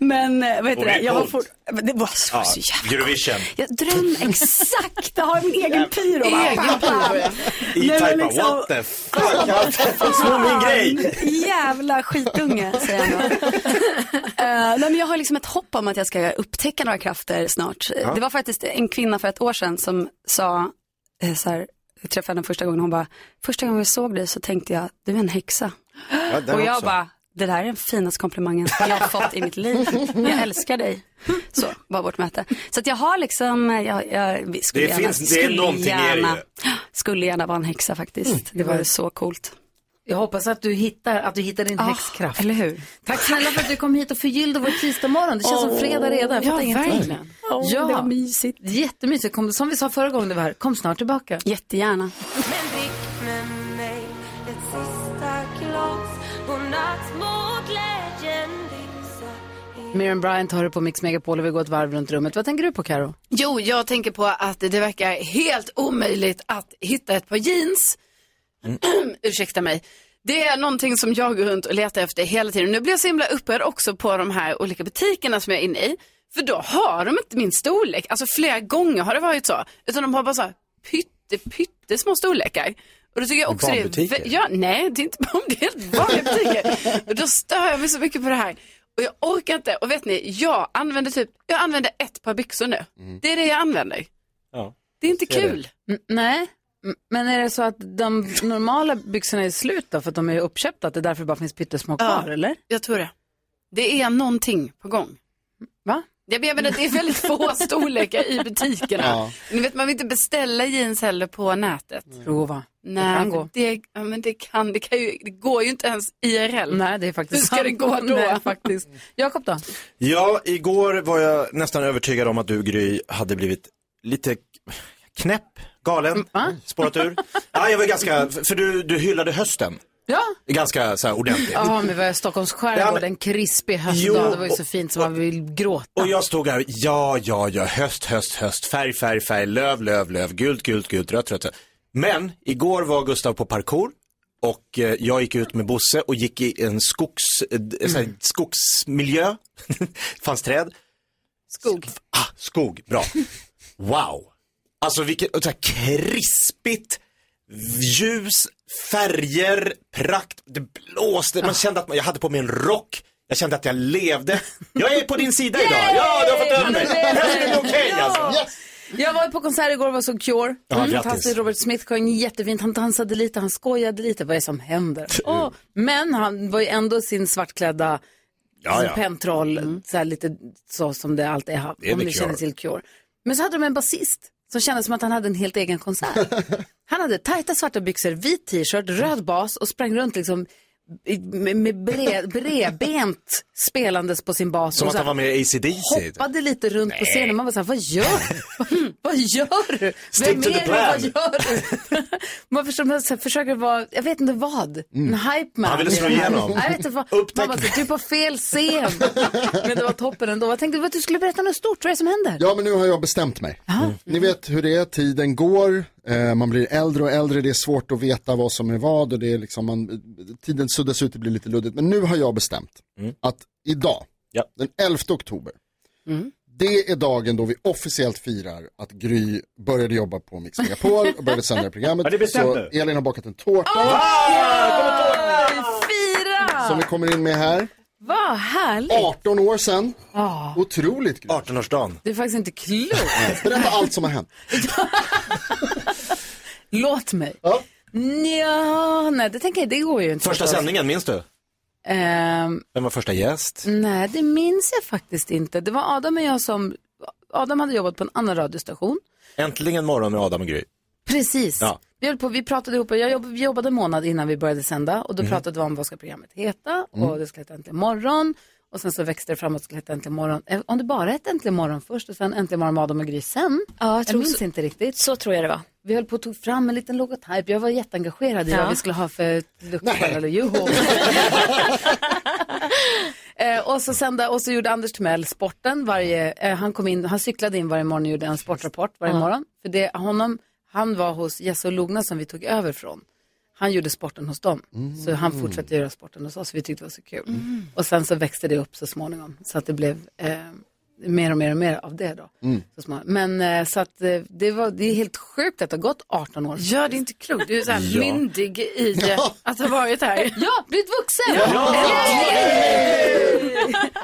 S13: men eh, vad heter
S2: Och det är
S13: det? Jag har
S2: coolt.
S13: for... Men Det var så, så jävla...
S2: Eurovision.
S13: Jag drömmer exakt, jag har min egen pyro. va?
S2: Egen
S13: Fan. [LAUGHS]
S2: pyro, ja. E-Type,
S13: Nej, men
S2: bara,
S13: liksom-
S2: what the
S13: [LAUGHS]
S2: fuck? Snor min grej.
S13: Jävla skitunge, säger jag nog.
S12: [LAUGHS]
S13: Eh, nej, men jag har liksom ett hopp om att jag ska upptäcka några krafter snart. Eh,
S12: Ja.
S13: Det var faktiskt en kvinna för ett år sedan som sa, eh, så här, jag träffade henne första gången, hon bara, första gången jag såg dig så tänkte jag, du är en häxa.
S12: den
S13: Och jag
S12: också.
S13: bara, det där är den finaste komplimangen jag har fått i mitt liv. Jag älskar dig. Så var vårt möte. Så att jag har liksom, eh, jag, jag vi skulle
S12: Det
S13: gärna,
S12: finns- det är
S13: skulle
S12: någonting i er ju.
S13: gärna, skulle gärna vara en häxa faktiskt.
S1: Mm.
S13: Det var så coolt.
S1: Jag hoppas att du hittar, att du hittar din häxkraft.
S13: Ah, Eller hur?
S1: Tack snälla för att du kom hit och förgyllde vår tisdagmorgon. Det känns som
S13: Åh.
S1: fredag redan. Jag
S13: Ja,
S1: fattar ingenting.
S13: verkligen. Åh, det var mysigt.
S1: Jättemysigt. Kom, som vi sa förra gången du var här, kom snart tillbaka.
S13: Jättegärna.
S12: Men drick med mig ett sista glas Godnatt mot glädjen lysa
S1: Miriam Bryant har du på Mix Megapol och vi går ett varv runt rummet. Vad tänker du på Karo?
S4: Jo, jag tänker på att det verkar helt omöjligt att hitta ett par jeans. Mm. [CLEARS THROAT] Ursäkta mig. Det är någonting som jag går runt och letar efter hela tiden. Nu blir jag så himla upprörd också på de här olika butikerna som jag är inne i. För då har de inte min storlek. Alltså flera gånger har det varit så. Utan de har bara så här pytte, pyttesmå storlekar. Och då tycker jag
S12: Men
S4: också det är...
S12: barnbutiker?
S4: vä- Ja, nej, det är inte barnbutiker. Det är helt vanliga [LAUGHS] butiker. Och då stör jag mig så mycket på det här. Och jag orkar inte. Och vet ni, jag använder typ, jag använder ett par byxor nu. Det är det jag använder. Det är inte
S1: Ser
S4: kul.
S1: Mm, nej, Mm, men är det så att de normala byxorna är slut då för att de är uppköpta? Att det därför bara finns pyttesmå kvar eller?
S4: Jag tror det. Det är någonting på gång.
S1: Va?
S4: Jag menar att det är
S1: [LAUGHS]
S4: väldigt få storlekar i butikerna.
S1: Ja. Mm.
S4: Ni vet, man vill inte beställa jeans heller på nätet.
S1: Prova.
S4: Nej,
S1: kan
S4: men
S1: gå.
S4: det, ja, men det kan, det kan ju, det går ju inte ens IRL.
S1: Nej, det är faktiskt
S4: Hur ska
S1: sant.
S4: det gå då?
S1: Nej, faktiskt. Jakob då?
S2: Ja, igår var jag nästan övertygad om att du Gry hade blivit lite knäpp, galen, spårat ur. Ja, jag var ganska, för du, du hyllade hösten.
S1: Ja.
S2: Ganska så här ordentligt.
S1: Ja, men vi var i Stockholms
S2: Ja,
S1: skärgård
S2: men-
S1: en krispig
S2: Jo,
S1: höstdag. Det var ju så
S2: och-
S1: fint som man vill gråta.
S2: Och jag stod här, ja, ja, ja, höst, höst, höst, färg, färg, färg, löv, löv, löv, gult, gult, gult, rött, rött. rött. Men igår var Gustav på parkour och eh, jag gick ut med Bosse och gick i en skogs, eh, d- så här, skogsmiljö, [LAUGHS] fanns träd.
S4: Skog.
S2: Ah, skog, bra. Wow. Alltså vilket, och så här krispigt, ljus, färger, prakt. Det blåste,
S1: Ah.
S2: man kände att man, jag hade på mig en rock. Jag kände att jag levde. Jag är på din sida idag. Ja, du har fått över mig. Hälften är okej alltså.
S1: Jag var på konsert igår och var så Cure.
S2: Ja,
S1: Mm,
S2: grattis.
S1: fantastiskt. Robert Smith sjöng jättefint. Han dansade lite, han skojade lite. Vad är det som händer?
S4: Typ.
S1: Åh, men han var ju ändå sin svartklädda
S4: Ja, ja.
S1: pentroll.
S4: Mm.
S1: Så här lite så som det alltid är. Han-
S4: Det är
S1: Om
S4: The
S1: ni känner
S4: Cure.
S1: till Cure. Men så hade de en basist som kändes som att han hade en helt egen konsert. han hade tajta svarta byxor, vit t-shirt, röd bas och sprang runt liksom i- med, med bre, bredbent spelandes på sin bas.
S2: Som
S1: och
S2: att
S1: så
S2: han var med i ACDC.
S1: hoppade lite runt på scenen. Man var så här, vad gör du? [LAUGHS] vad gör du?
S2: Stick to the
S1: du?
S2: plan.
S1: Vad gör du? [LAUGHS] man förstår, man så här, försöker vara, jag vet inte vad, en hype
S2: Mm.
S1: man.
S2: Han ville slå igenom.
S1: Jag vet inte vad. Man var så, du är på fel scen. [LAUGHS] Men det var toppen ändå. Jag tänkte att du skulle berätta något stort, vad är det som händer?
S3: Ja, men nu har jag bestämt mig. Mm. Ni vet hur det är, tiden går, eh, man blir äldre och äldre, det är svårt att veta vad som är vad och det är liksom man, tiden suddas ut, det blir lite luddigt. Men nu har jag bestämt
S2: Mm.
S3: att idag, den 11 oktober,
S1: Mm.
S3: det är dagen då vi officiellt firar att Gry började jobba på Mix Megapol och började sända det här programmet.
S2: Ja, det är
S3: Så
S2: bestämt nu.
S3: Elin har bakat en tårta
S1: Fira!
S3: som vi kommer in med här.
S1: Vad härligt.
S3: 18 år sedan.
S1: Ja.
S3: Otroligt Gry.
S2: 18-årsdagen.
S1: Det är faktiskt inte klokt.
S3: Berätta allt som har hänt.
S1: Låt mig. Ja, nej det tänker jag, det går ju inte.
S2: Första sändningen, minns du?
S1: Ehm,
S2: Vem var första gäst?
S1: Nej, det minns jag faktiskt inte. Det var Adam och jag som... Adam hade jobbat på en annan radiostation.
S2: Äntligen morgon med Adam och Gry.
S1: Precis.
S2: Ja.
S1: Vi, höll på, vi pratade ihop, och jag jobb, vi jobbade en månad innan vi började sända och då
S2: Mhm.
S1: pratade vi om vad ska programmet heta och
S2: Mm.
S1: det skulle heta Äntligen morgon och sen så växte det framåt och skulle heta Äntligen morgon. Eh, Om det bara hette Äntligen morgon först och sen Äntligen morgon med Adam och Gry sen.
S7: jag tror
S1: minns
S7: så-
S1: inte riktigt.
S7: Så tror jag det var.
S1: Vi höll på och tog fram en liten logotyp. Jag var jätteengagerad i
S7: Ja.
S1: vad vi skulle ha för luktskärl eller joho. [LAUGHS] Eh, och, så sända, och så gjorde Anders Timell sporten varje, eh, han kom in, han cyklade in varje morgon och gjorde en sportrapport varje
S7: Ja.
S1: morgon. För det, honom, han var hos Jesse och Logna som vi tog över från. Han gjorde sporten hos dem, så han fortsatte göra sporten hos oss, vi tyckte det var så kul.
S4: Mm.
S1: Och sen så växte det upp så småningom, så att det blev eh, mer och mer och mer av det då. Så småningom. Men eh, så att eh, det, var, det är helt sjukt att det har gått 18 år.
S4: Ja, det är inte klokt. Du är så här
S1: Ja.
S4: myndig i
S1: Ja.
S4: att ha varit här.
S1: [LAUGHS] Ja, blivit vuxen!
S4: Ja.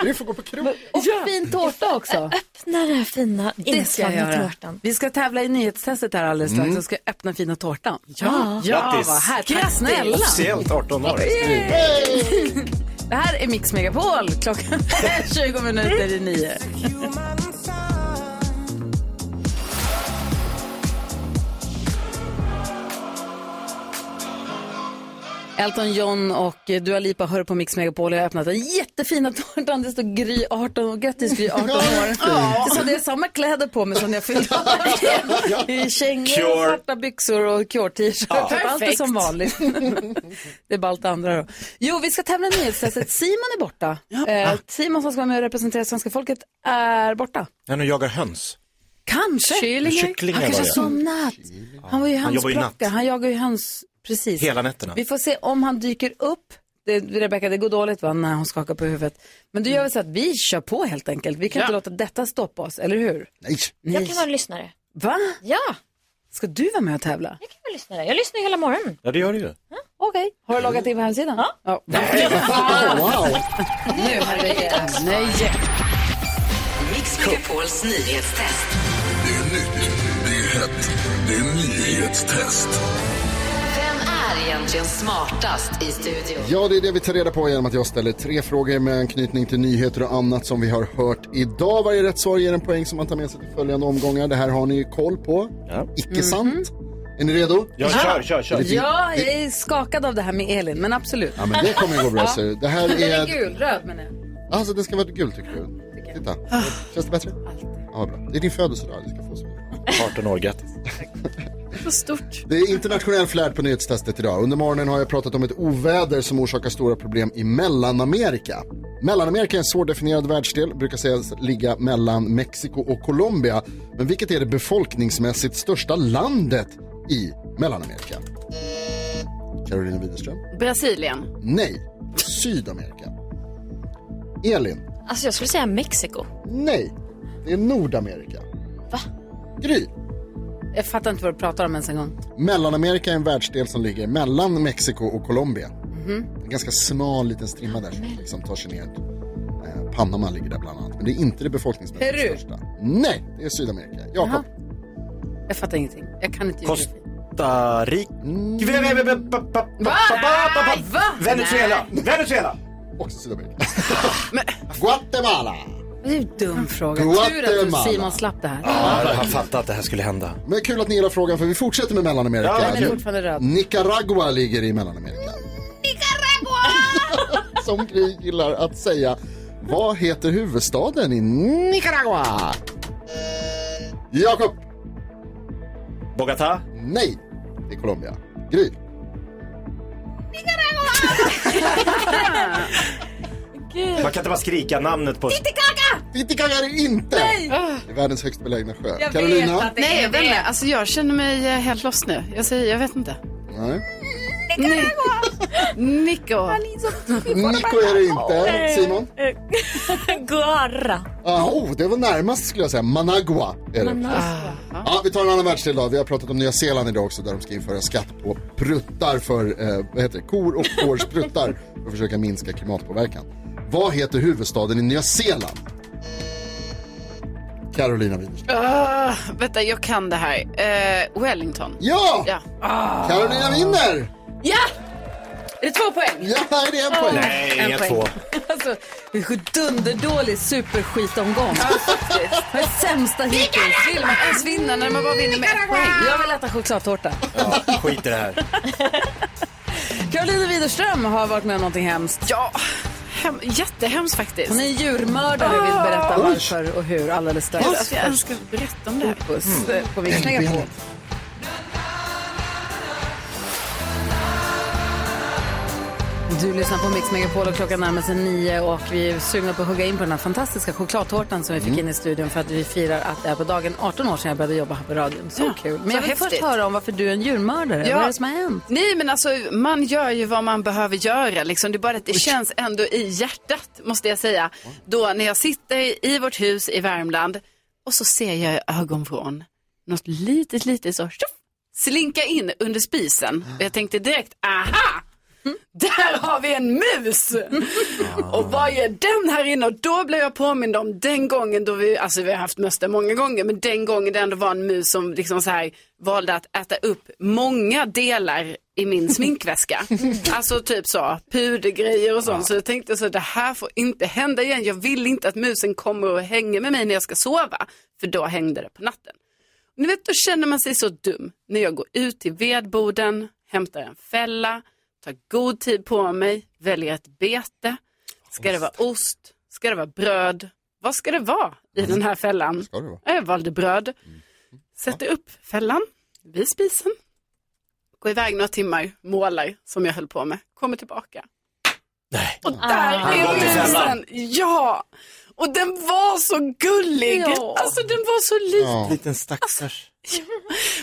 S3: Du får gå på krog.
S1: Och fin tårta också.
S7: Öppna den här fina
S1: Det ska jag
S7: inslagna
S1: göra.
S7: tårtan.
S1: Vi ska tävla i nyhetstestet här alldeles strax.
S7: Mm.
S1: Jag ska öppna fina tårtan.
S7: Ja.
S1: ja
S2: Grattis.
S1: vad här. Tack
S7: Grattis.
S1: snälla.
S2: Officiellt 18 år.
S1: Yay! [LAUGHS] Det här är Mix Megapol. Klockan är [LAUGHS] 20 minuter i nio. Elton John och eh, Dua Lipa hör på Mix Megapol. Jag har öppnat den jättefina tårtan. Det står Gry 18 och grattis Gry 18 år.
S4: Ja.
S1: Det hade jag samma kläder på mig som när jag fyllde år. I kängor, och
S4: Cure.
S1: svarta byxor och Cure-t-shirt.
S4: Ja.
S1: Allt är
S4: Perfekt.
S1: som vanligt. det är bara allt det andra då. Jo, vi ska tävla i nyhetstestet. Simon är borta. Eh, Simon som ska vara med och representera svenska folket är borta.
S2: När de jagar höns.
S1: Kanske.
S2: Kycklingar. Kycklingar
S1: Han kanske har
S2: var det.
S1: somnat. Han var ju
S2: Han jobbar ju
S1: hönsplockare.
S2: natt.
S1: Han jagar ju höns. Precis.
S2: Hela nätterna.
S1: Vi får se om han dyker upp. Det, Rebecka, det går dåligt va, när hon skakar på huvudet. Men då gör vi så att vi kör på helt enkelt. Vi kan inte låta detta stoppa oss, eller hur?
S3: Nej.
S7: Jag kan vara lyssnare.
S1: Va?
S7: Ja,
S1: Ska du vara med och tävla?
S7: jag kan vara lyssnare. Jag lyssnar hela morgonen.
S2: Ja, det gör det ju.
S1: Okej. Har du loggat in på hemsidan? [LAUGHS] Ja.
S3: wow.
S1: Nu har det ett nöje.
S12: Mix Megapols nyhetstest.
S18: Det är nytt, det är hett, det är nyhetstest.
S12: Vem är egentligen smartast i studion?
S3: Ja, det är det vi tar reda på genom att jag ställer tre frågor med anknytning till nyheter och annat som vi har hört idag. Varje rätt svar ger en poäng som man tar med sig till följande omgångar. Det här har ni ju koll på. Icke sant? Är ni redo?
S2: Ja, kör, kör, kör.
S3: Lite-
S1: Ja, jag är skakad av det här med Elin, men absolut.
S3: Ja, men det kommer att gå bra.
S1: Ja.
S3: ser du. Det här
S1: Den är
S3: är...
S1: gul, röd menar jag.
S3: Alltså, det ska vara gult tycker du? Titta. Känns det bättre? Ja, vad bra. Det är din födelsedag. Du ska få så mycket.
S2: 18 år, grattis.
S4: Så stort.
S3: Det är internationell flärd på nyhetstestet idag. Under morgonen har jag pratat om ett oväder som orsakar stora problem i Mellanamerika. Mellanamerika är en svårdefinierad världsdel, brukar sägas ligga mellan Mexiko och Colombia. Men vilket är det befolkningsmässigt största landet i Mellanamerika? Carolina Widerström?
S4: Brasilien.
S3: Nej. Sydamerika. Elin?
S7: Alltså jag skulle säga Mexiko.
S3: Nej. Det är Nordamerika. Va? Gry?
S1: Jag fattar inte vad du pratar om ens en gång.
S3: Mellanamerika är en världsdel som ligger mellan Mexiko och Colombia.
S1: Mhm.
S3: En ganska smal liten strimma där som liksom tar sig ner. Eh, Panama ligger där bland annat. Men det är inte det befolkningsmässigt
S1: Peru.
S3: största. Nej, det är Sydamerika. Jakob.
S1: Jag fattar ingenting. Jag kan inte
S2: Costa Rica.
S3: Mm.
S1: Va? Va?
S2: Venezuela. Venezuela.
S3: Och Sydamerika. Guatemala.
S1: Det är ju en dum fråga.
S3: Guatemala.
S1: Tur att Simon slapp det här.
S2: jag har fattat att det här skulle hända.
S3: Men kul att ni gillar frågan för vi fortsätter med Mellanamerika.
S1: Ja, den är fortfarande röd.
S3: Nicaragua ligger i Mellanamerika. Nicaragua! [LAUGHS] Som Gry gillar att säga. Vad heter huvudstaden i Nicaragua? Jakob.
S2: Bogotá?
S3: Nej, det är Colombia. Gry.
S2: Man kan inte bara skrika namnet på...
S3: Titicaca! Titicaca är det inte! Det är världens högst belägna sjö. Carolina?
S4: Nej, jag vet inte. Alltså, jag känner mig eh, helt lost nu. Jag säger, jag vet inte.
S3: Nej.
S4: Nico.
S3: [LAUGHS] Nico är det inte.
S1: [LAUGHS]
S3: Simon?
S7: Guara.
S3: Ah, oh, det var närmast skulle jag säga. Managua är det.
S9: alltså.
S3: Ah. Ja, vi tar en annan världsdel då. Vi har pratat om Nya Zeeland idag också där de ska införa skatt på pruttar för, eh, vad heter det, kor och fårs pruttar för att försöka minska klimatpåverkan. Vad heter huvudstaden i Nya Zeeland? Carolina Widerström.
S4: Ah, vänta, jag kan det här. Eh, Wellington.
S3: Ja!
S4: ja.
S1: Ah.
S3: Carolina vinner!
S4: Ja! Är det två poäng?
S3: Ja, det är en poäng.
S2: Nej,
S1: En
S2: inga
S1: poäng.
S2: två.
S1: Alltså, det är [LAUGHS] en dunderdålig superskitomgång. [LAUGHS] Den sämsta hittills. Vill man ens vinna när man bara vinner med ett poäng? Jag vill äta chokladtårta.
S2: Skit i det här.
S1: Karolina Widerström har varit med om någonting hemskt.
S4: Ja, hem, jättehemskt faktiskt.
S1: Hon är djurmördare och vill berätta
S4: Oj.
S1: varför och hur alldeles strax.
S4: Gud, att jag ens ska berätta om det här.
S1: Puss eh, på Mix
S4: Mm.
S1: Megapol. Du lyssnar på Mix Megapol och klockan närmar sig nio och vi är sugna på att hugga in på den här fantastiska chokladtårtan som vi fick in i studion för att vi firar att det är på dagen 18 år sedan jag började jobba här på radion. Så kul. Men
S4: så
S1: jag vill först
S4: häftigt.
S1: höra om varför du är en djurmördare. Vad är det som har hänt?
S4: Nej, men alltså man gör ju vad man behöver göra. Liksom. Det är bara att det känns ändå i hjärtat, måste jag säga. Då när jag sitter i vårt hus i Värmland och så ser jag i ögonvrån något litet, litet så tjoff, slinka in under spisen. Och jag tänkte direkt, aha! Där har vi en mus! Och vad är den här inne? Och då blev jag påmind om den gången då vi, alltså vi har haft möss där många gånger, men den gången det ändå var en mus som liksom så här valde att äta upp många delar i min sminkväska. Alltså typ så, pudergrejer och sånt. Så jag tänkte så, det här får inte hända igen. Jag vill inte att musen kommer och hänger med mig när jag ska sova, för då hängde det på natten. Ni vet, då känner man sig så dum när jag går ut till vedboden, hämtar en fälla, tar god tid på mig, väljer ett bete. Ska det vara ost? Ska det vara bröd? Vad ska det vara i den här fällan?
S3: Ska det vara? Mm.
S4: Jag valde bröd. Sätter upp fällan vid spisen. Går iväg några timmar, målar som jag höll på med. Kommer tillbaka. Och där
S19: Ah.
S4: är
S19: Han går till fällan.
S4: musen. Ja. Och den var så gullig.
S19: Ja.
S4: Alltså den var så liten.
S2: Liten stackars.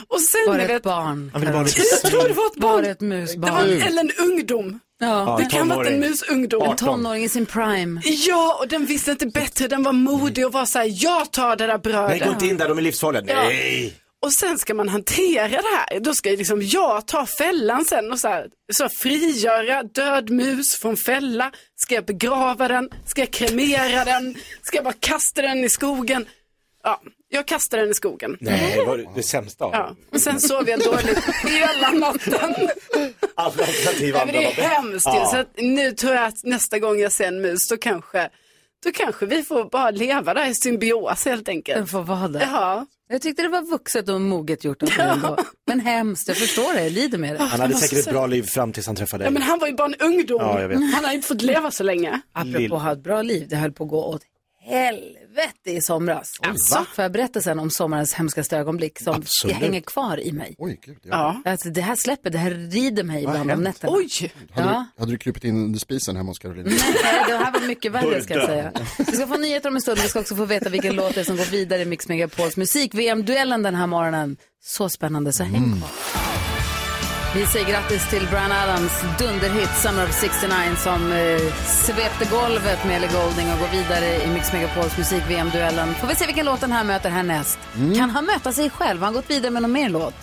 S4: Och sen,
S1: Var
S4: ni
S1: det ett
S4: vet,
S1: barn?
S2: Han ville bara bli-
S4: [LAUGHS] Jag tror det var ett barn.
S1: Var det ett musbarn?
S4: Det var en, eller en ungdom.
S1: Ja.
S4: Det kan ha varit en musungdom.
S1: En tonåring i sin prime.
S4: Ja, och den visste inte bättre. Den var modig och var så här, jag tar det där
S2: Nej, gå
S4: brödet.
S2: inte in där, de är livsfarliga.
S4: Ja.
S2: Nej!
S4: Och sen ska man hantera det här. Då ska ju liksom jag ta fällan sen och så, här, så frigöra död mus från fälla. Ska jag begrava den? Ska jag kremera den? Ska jag bara kasta den i skogen? Ja, jag kastar den i skogen.
S1: Mm.
S2: Nej, det var det sämsta av
S4: Ja, och sen sov jag dåligt hela natten.
S2: alla alternativ
S4: Nej, men det är
S2: andra var-
S4: hemskt ju.
S2: Ja.
S4: Så att nu tror jag att nästa gång jag ser en mus då kanske, då kanske vi får bara leva där i symbios helt enkelt.
S1: Den får vara där.
S4: Ja.
S1: Jag tyckte det var vuxet och
S20: [LAUGHS]
S1: moget gjort av dig ändå. Men hemskt, jag förstår det, Ah, jag lider med det.
S2: Han hade säkert ett bra liv fram tills han träffade
S4: ja, men han var ju bara en ungdom.
S2: Ja, jag vet.
S4: Han har ju inte fått leva så länge.
S1: Apropå att ha ett bra liv, det höll på att gå åt helvete i somras. Alltså. Får jag berätta sen om sommarens hemskaste ögonblick som
S3: Absolut.
S1: hänger kvar i mig?
S3: Oj, gud. Ja.
S1: Ja. Alltså, det här släpper, det här rider mig ibland om nätterna.
S4: Oj!
S3: Hade,
S1: Ja.
S3: du, hade du krupit in under spisen hemma hos Carolina?
S1: Nej, det här var mycket värre ska jag säga.
S3: Burda.
S1: Vi ska få nyheter om en stund, vi ska också få veta vilken låt det är som går vidare i Mix Megapols musik. VM-duellen den här morgonen. Så spännande, så häng kvar. Vi säger grattis till Brian Adams dunderhit Summer of 69 som eh, svepte golvet med Ellie Golding och går vidare i Mix Megapols musik-VM-duellen. Får vi se vilken låt den här möter härnäst. Kan han möta sig själv? Har han gått vidare med någon mer låt?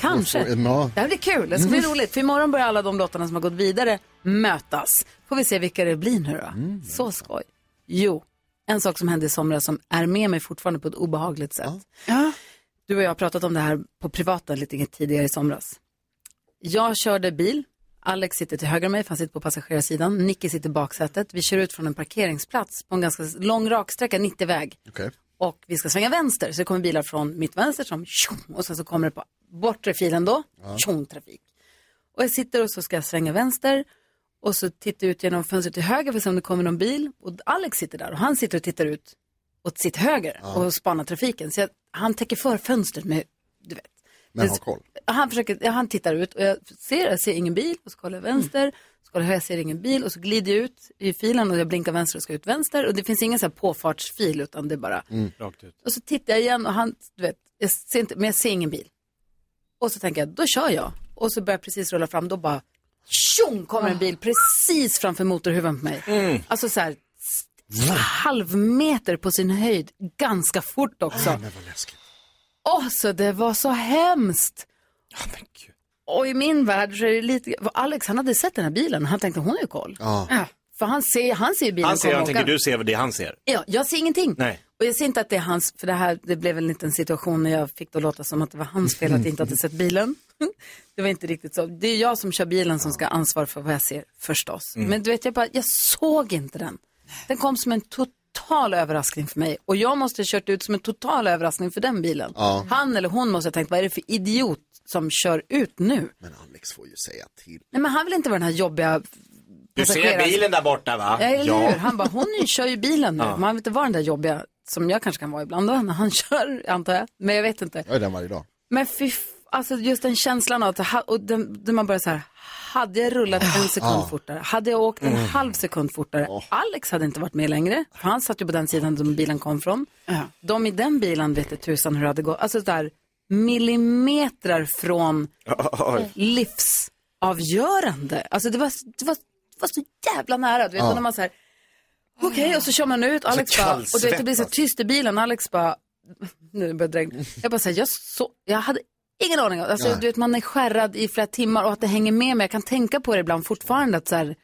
S1: Kanske.
S3: Svår- ja.
S1: Det här blir kul. Det ska bli
S3: Mm.
S1: roligt. För imorgon börjar alla de låtarna som har gått vidare mötas. Får vi se vilka det blir nu då. Så skoj. Jo, en sak som hände i somras som är med mig fortfarande på ett obehagligt sätt. Du och jag har pratat om det här på privaten lite tidigare i somras. Jag körde bil. Alex sitter till höger om mig, för han sitter på passagerarsidan. Nicky sitter i baksätet. Vi kör ut från en parkeringsplats på en ganska lång raksträcka, 90-väg.
S3: Okej.
S1: Och vi ska svänga vänster, så det kommer bilar från mitt vänster som tjong, och sen så kommer det på bortre filen då,
S3: Ja.
S1: tjong trafik. Och jag sitter och så ska jag svänga vänster och så tittar jag ut genom fönstret till höger för att se om det kommer någon bil. Och Alex sitter där och han sitter och tittar ut åt sitt höger
S3: Ja.
S1: och spanar trafiken. Så jag, han täcker för fönstret med, du vet.
S3: Men
S1: Det-
S3: ha koll.
S1: Han, försöker, ja, han tittar ut och jag ser, jag ser ingen bil och så kollar jag
S3: Mm.
S1: vänster. Så kollar jag, jag ser ingen bil och så glider jag ut i filen och jag blinkar vänster och ska ut vänster. Och det finns ingen så här påfartsfil utan det är bara
S9: Rakt
S12: [LAUGHS]
S9: ut.
S1: och så tittar jag igen och han, du vet, jag ser inte, men jag ser ingen bil. Och så tänker jag, då kör jag. Och så börjar jag precis rulla fram, då bara tjong kommer en bil precis framför motorhuven på mig.
S14: Mm.
S1: Alltså så här, s- halv meter på sin höjd, ganska fort också. Åh, så det var så hemskt. Och i min värld så är det lite, för Alex han hade sett den här bilen och han tänkte hon har ju koll.
S14: Ja.
S1: För han ser, han ser bilen
S14: Han ser,
S1: komma
S14: han tänker
S1: åkande.
S14: du ser det han ser.
S1: Ja, jag ser ingenting.
S14: Nej.
S1: Och jag ser inte att det är hans, för det här, det blev en liten situation när jag fick det att låta som att det var hans fel att jag inte hade sett bilen. [LAUGHS] Det var inte riktigt så. Det är jag som kör bilen som ska ha ansvar för vad jag ser, förstås.
S21: Mm.
S1: Men du vet, jag bara, jag såg inte den. Den kom som en total överraskning för mig. Och jag måste ha kört ut som en total överraskning för den bilen.
S3: Ja.
S1: Han eller hon måste ha tänkt, vad är det för idiot som kör ut nu?
S3: Men Alex får ju säga till.
S1: Nej, men han vill inte vara den här jobbiga
S14: Du ser
S1: passagerare-
S14: bilen där borta va?
S1: Ja, eller hur? Han bara, hon kör ju bilen nu.
S14: Ja.
S1: Man vill inte vara den där jobbiga som jag kanske kan vara ibland då, när han [LAUGHS] kör, antar jag. Men jag vet inte.
S3: Jag är den varje dag.
S1: Men fy, f- alltså just den känslan av att, ha- och den, den man börjar så här, hade jag rullat en sekund
S3: Ja.
S1: fortare? Hade jag åkt en
S3: Mm.
S1: halv sekund fortare? Alex hade inte varit med längre, för han satt ju på den sidan som bilen kom från. De i den bilen vet inte tusan hur det hade gått. Alltså där, millimeter från
S14: Oj.
S1: livsavgörande. Alltså det var, det var, det var så jävla nära. Du vet,
S14: Ja.
S1: och när man så här, okej, och så kör man ut.
S14: Så
S1: Alex bara, och du vet, det blir så
S14: kallsvettas.
S1: tyst i bilen. Alex bara, [LAUGHS] nu är det börjat regna. Jag bara säger, jag, så, jag hade ingen aning. om- Alltså,
S21: Nej.
S1: du vet, man är skärrad i flera timmar och att det hänger med mig. Jag kan tänka på det ibland fortfarande. Att så här,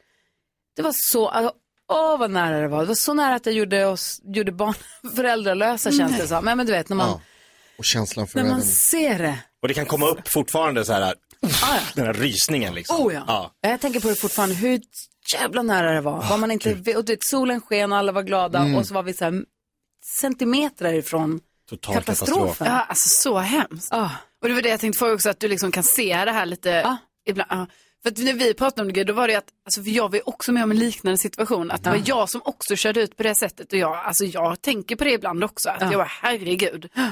S1: det var så, alltså, åh vad nära det var. Det var så nära att jag gjorde, oss, gjorde barn [LAUGHS] föräldralösa känns det som. Men, men du vet, när man,
S14: Ja.
S3: Och känslan
S1: när man ser det.
S14: Och det kan komma upp fortfarande så här, den här rysningen liksom.
S1: Oh, ja. Jag tänker på det fortfarande, hur jävla nära det var. var man inte, och du vet, solen sken och alla var glada
S14: Mm.
S1: och så var vi så här centimeter ifrån
S20: Total
S1: katastrofen.
S20: Ja, alltså så hemskt.
S1: Ah.
S20: Och det var det jag tänkte fråga också, att du liksom kan se det här lite ibland. ja. För att när vi pratade om det, då var det ju att, alltså för jag var ju också med om en liknande situation, att det var
S1: Ja.
S20: jag som också körde ut på det sättet och jag, alltså jag tänker på det ibland också, att
S1: Ja.
S20: jag var herregud,
S1: Ah.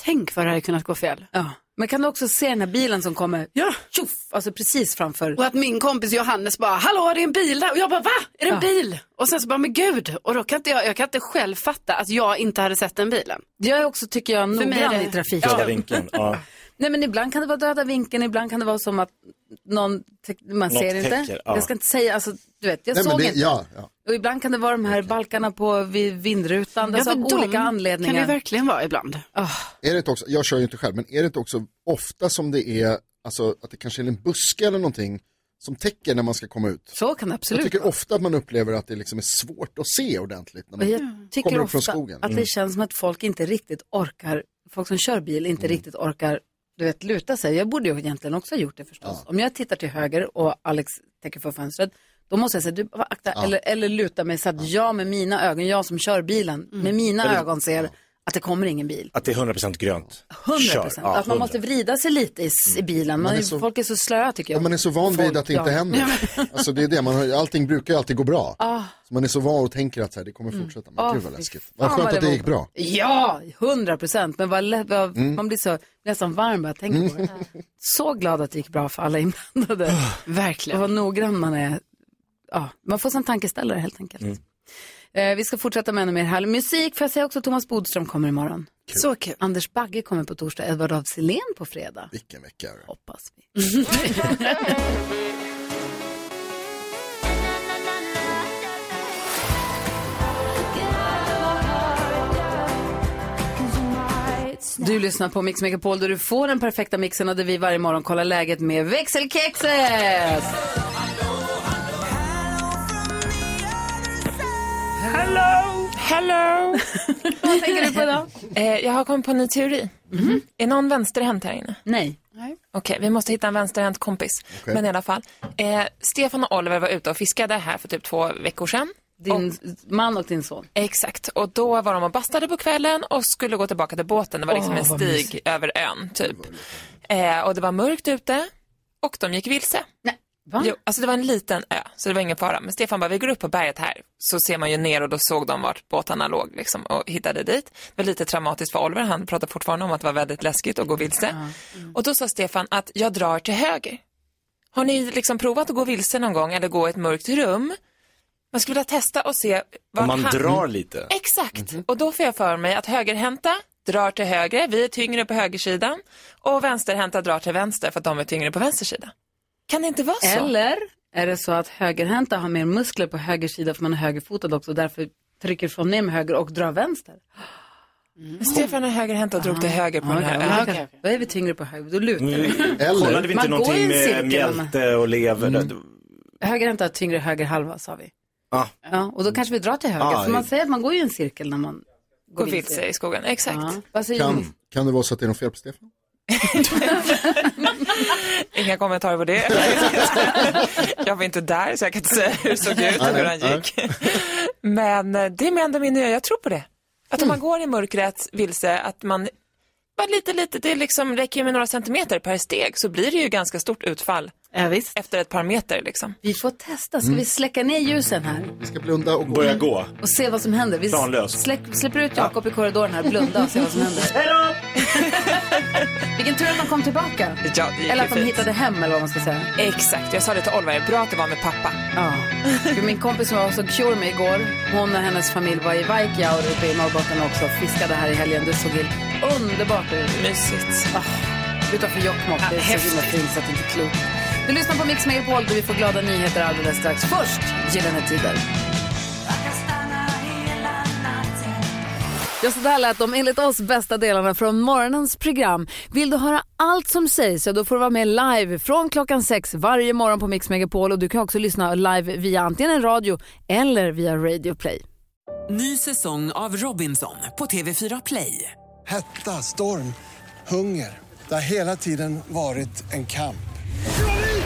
S20: tänk vad det hade kunnat gå fel.
S1: Ja. Men kan du också se den här bilen som kommer ja. tjoff, alltså precis framför?
S20: Och att min kompis Johannes bara, hallå det är en bil där. Och jag bara, va? Är det en bil? Och sen så bara, men gud. Och då kan inte jag, jag kan inte själv fatta att jag inte hade sett den bilen.
S1: Jag är också, tycker jag,
S20: mig är
S1: noggrann
S20: det-
S1: i trafiken.
S14: Döda vinkeln. Ja.
S1: Nej men ibland kan det vara döda vinkeln, ibland kan det vara som att någon, te- man
S14: Något
S1: ser inte.
S14: täcker, ja.
S1: Jag ska inte säga, alltså du vet, jag
S3: Nej, men
S1: såg
S3: det,
S1: inte.
S3: ja, ja.
S1: Och ibland kan det vara de här balkarna på vid vindrutan, alltså av olika anledningar.
S20: kan det verkligen vara ibland.
S1: Ah.
S3: Är det inte också, jag kör ju inte själv, men är det inte också ofta som det är, alltså att det kanske är en buske eller någonting som täcker när man ska komma ut?
S1: Så kan det absolut
S3: Jag tycker ofta att man upplever att det liksom är svårt att se ordentligt när
S1: Men
S3: man
S1: jag tycker
S3: kommer upp
S1: ofta
S3: från skogen. Mm.
S1: att det känns som att folk inte riktigt orkar, folk som kör bil
S3: Mm.
S1: inte riktigt orkar, du vet, luta sig. Jag borde ju egentligen också ha gjort det förstås. Om jag tittar till höger och Alex täcker för fönstret, då måste jag säga, du, va, akta,
S21: Ja.
S1: eller, eller luta mig så att jag med mina ögon, jag som kör bilen, med mina
S14: Eller-
S1: ögon ser att det kommer ingen bil.
S14: Att det är 100% grönt.
S1: 100
S14: Kör.
S1: procent.
S14: Ja,
S1: att man
S14: 100.
S1: måste vrida sig lite i, s- i bilen. Man
S3: Mm. Man är
S1: är,
S3: så-
S1: folk är så slöa tycker jag.
S3: Och man är så van vid att det inte
S1: ja.
S3: händer. Alltså det är det, man har, ju- allting brukar ju alltid gå bra.
S1: Ah.
S3: Så man är så van och tänker att så här, det kommer fortsätta. Men
S1: Ah,
S3: gud vad
S1: fy
S3: läskigt.
S1: fan
S3: Vad skönt
S1: vad
S3: att det
S1: var-
S3: gick bra.
S1: Ja, hundra procent. Men vad, lä- vad,
S3: Mm.
S1: man blir så, nästan varm bara jag tänker på det. Så glad att det gick bra för alla inblandade.
S3: Ah,
S1: Verkligen. Och vad noggrann man är. Ja, man får som
S3: Mm.
S1: tankeställare helt enkelt. Eh, vi ska fortsätta med ännu mer härlig musik. Får jag säga också att Thomas Bodström kommer imorgon? Så kul. Anders Bagge kommer på torsdag, Edvard af Sillén på fredag.
S3: Vilken vecka.
S1: Hoppas vi. [LAUGHS] Du lyssnar på Mix Megapol där du får den perfekta mixen och där vi varje morgon kollar läget med växelkexet.
S9: Hello! Hello! [LAUGHS]
S1: Vad tänker du på då? Mhm.
S9: Eh, jag har kommit på en ny teori. Är någon vänsterhänt här inne?
S1: Nej.
S9: Okej, vi måste hitta en vänsterhänt kompis.
S1: Okej.
S9: Men i alla fall. Eh, Stefan och Oliver var ute och fiskade här för typ två veckor sedan.
S1: Din man och din son?
S9: Exakt, och då var de och bastade på kvällen och skulle gå tillbaka till båten. Det var liksom
S1: Åh,
S9: en
S1: vad
S9: stig
S1: mysigt.
S9: över ön typ. Eh, och det var mörkt ute och de gick vilse.
S1: Nej, va?
S9: Jo, alltså det var en liten ö, så det var ingen fara. Men Stefan bara, vi går upp på berget här. Så ser man ju ner och då såg de vart båtarna låg liksom och hittade dit. Det var lite traumatiskt för Oliver, han pratar fortfarande om att det var väldigt läskigt att gå vilse. Och då sa Stefan att jag drar till höger. Har ni liksom provat att gå vilse någon gång eller gå i ett mörkt rum? Man skulle vilja testa och se vart
S2: man
S9: han-
S2: drar lite. Mhm.
S9: Exakt, och då får jag för mig att högerhänta drar till höger, vi är tyngre på högersidan och vänsterhänta drar till vänster för att de är tyngre på vänstersidan. Kan det inte vara så?
S1: Eller är det så att högerhänta har mer muskler på höger sida för man är högerfotad också och därför trycker från ner med höger och drar vänster?
S9: Mm. Stefan är högerhänt och drog till höger på
S1: Ja,
S9: den här Ah,
S1: ja,
S9: ön.
S1: okej. Då är vi tyngre på höger, då lutar vi.
S2: Mm. Eller? Kollade vi inte
S1: Man går i
S2: någonting
S1: en
S2: med
S1: cirkel. när man-
S2: mjälte och lever?
S1: Högerhänta har tyngre höger halva sa vi.
S2: Ah.
S1: Ja, och då kanske vi drar till höger.
S3: Ja,
S1: för man
S3: det-
S1: säger att man går ju i en cirkel när man
S9: Går vilse i skogen, exakt.
S1: Ja. Vad säger ni?
S3: Kan, kan det vara så att det är något fel på Stefan?
S9: Inga kommentarer på det.
S2: [LAUGHS]
S9: jag var inte där så jag kan inte säga hur det såg ut och hur han gick. Men eh, det är med ändå min nya, jag tror på det. Att om
S1: Mm.
S9: man går i mörkret vilse, att man bara lite, lite, det liksom räcker ju med några centimeter per steg så blir det ju ganska stort utfall. Efter ett par meter liksom.
S1: Vi får testa, ska
S9: Mm.
S1: vi släcka ner ljusen här?
S3: Vi ska blunda och
S2: Börja gå.
S1: Och se vad som händer. Vi
S2: Planlöst.
S1: släck- släpper ut Jakob i korridoren här, blunda och se vad som händer. [LAUGHS] Vilken tur att de kom
S9: Ja,
S1: tillbaka.
S9: det gick
S1: Eller
S9: ju
S1: att de
S9: fint.
S1: hittade hem eller vad man ska säga.
S9: Exakt, jag sa det till Oliver, bra att det var med pappa.
S1: Ja. För Min kompis som jag såg Cure med igår, hon och hennes familj var i Vaikejaur uppe i Norrbotten också och fiskade här i helgen. Det såg helt underbart ut.
S9: Mysigt.
S1: Oh, utanför Jokkmokk, det är så himla
S9: häftigt.
S1: fint så att det inte är klokt. Du lyssnar på Mix Megapol där vi får glada nyheter alldeles strax. Först Gyllene Tider. Ja, så där lät de enligt oss bästa delarna från morgonens program. Vill du höra allt som sägs så då får du vara med live från klockan sex varje morgon på Mix Megapol och du kan också lyssna live via antingen en radio eller via Radio Play.
S12: Ny säsong av Robinson på TV4 Play.
S22: Hetta, storm, hunger. Det har hela tiden varit en kamp.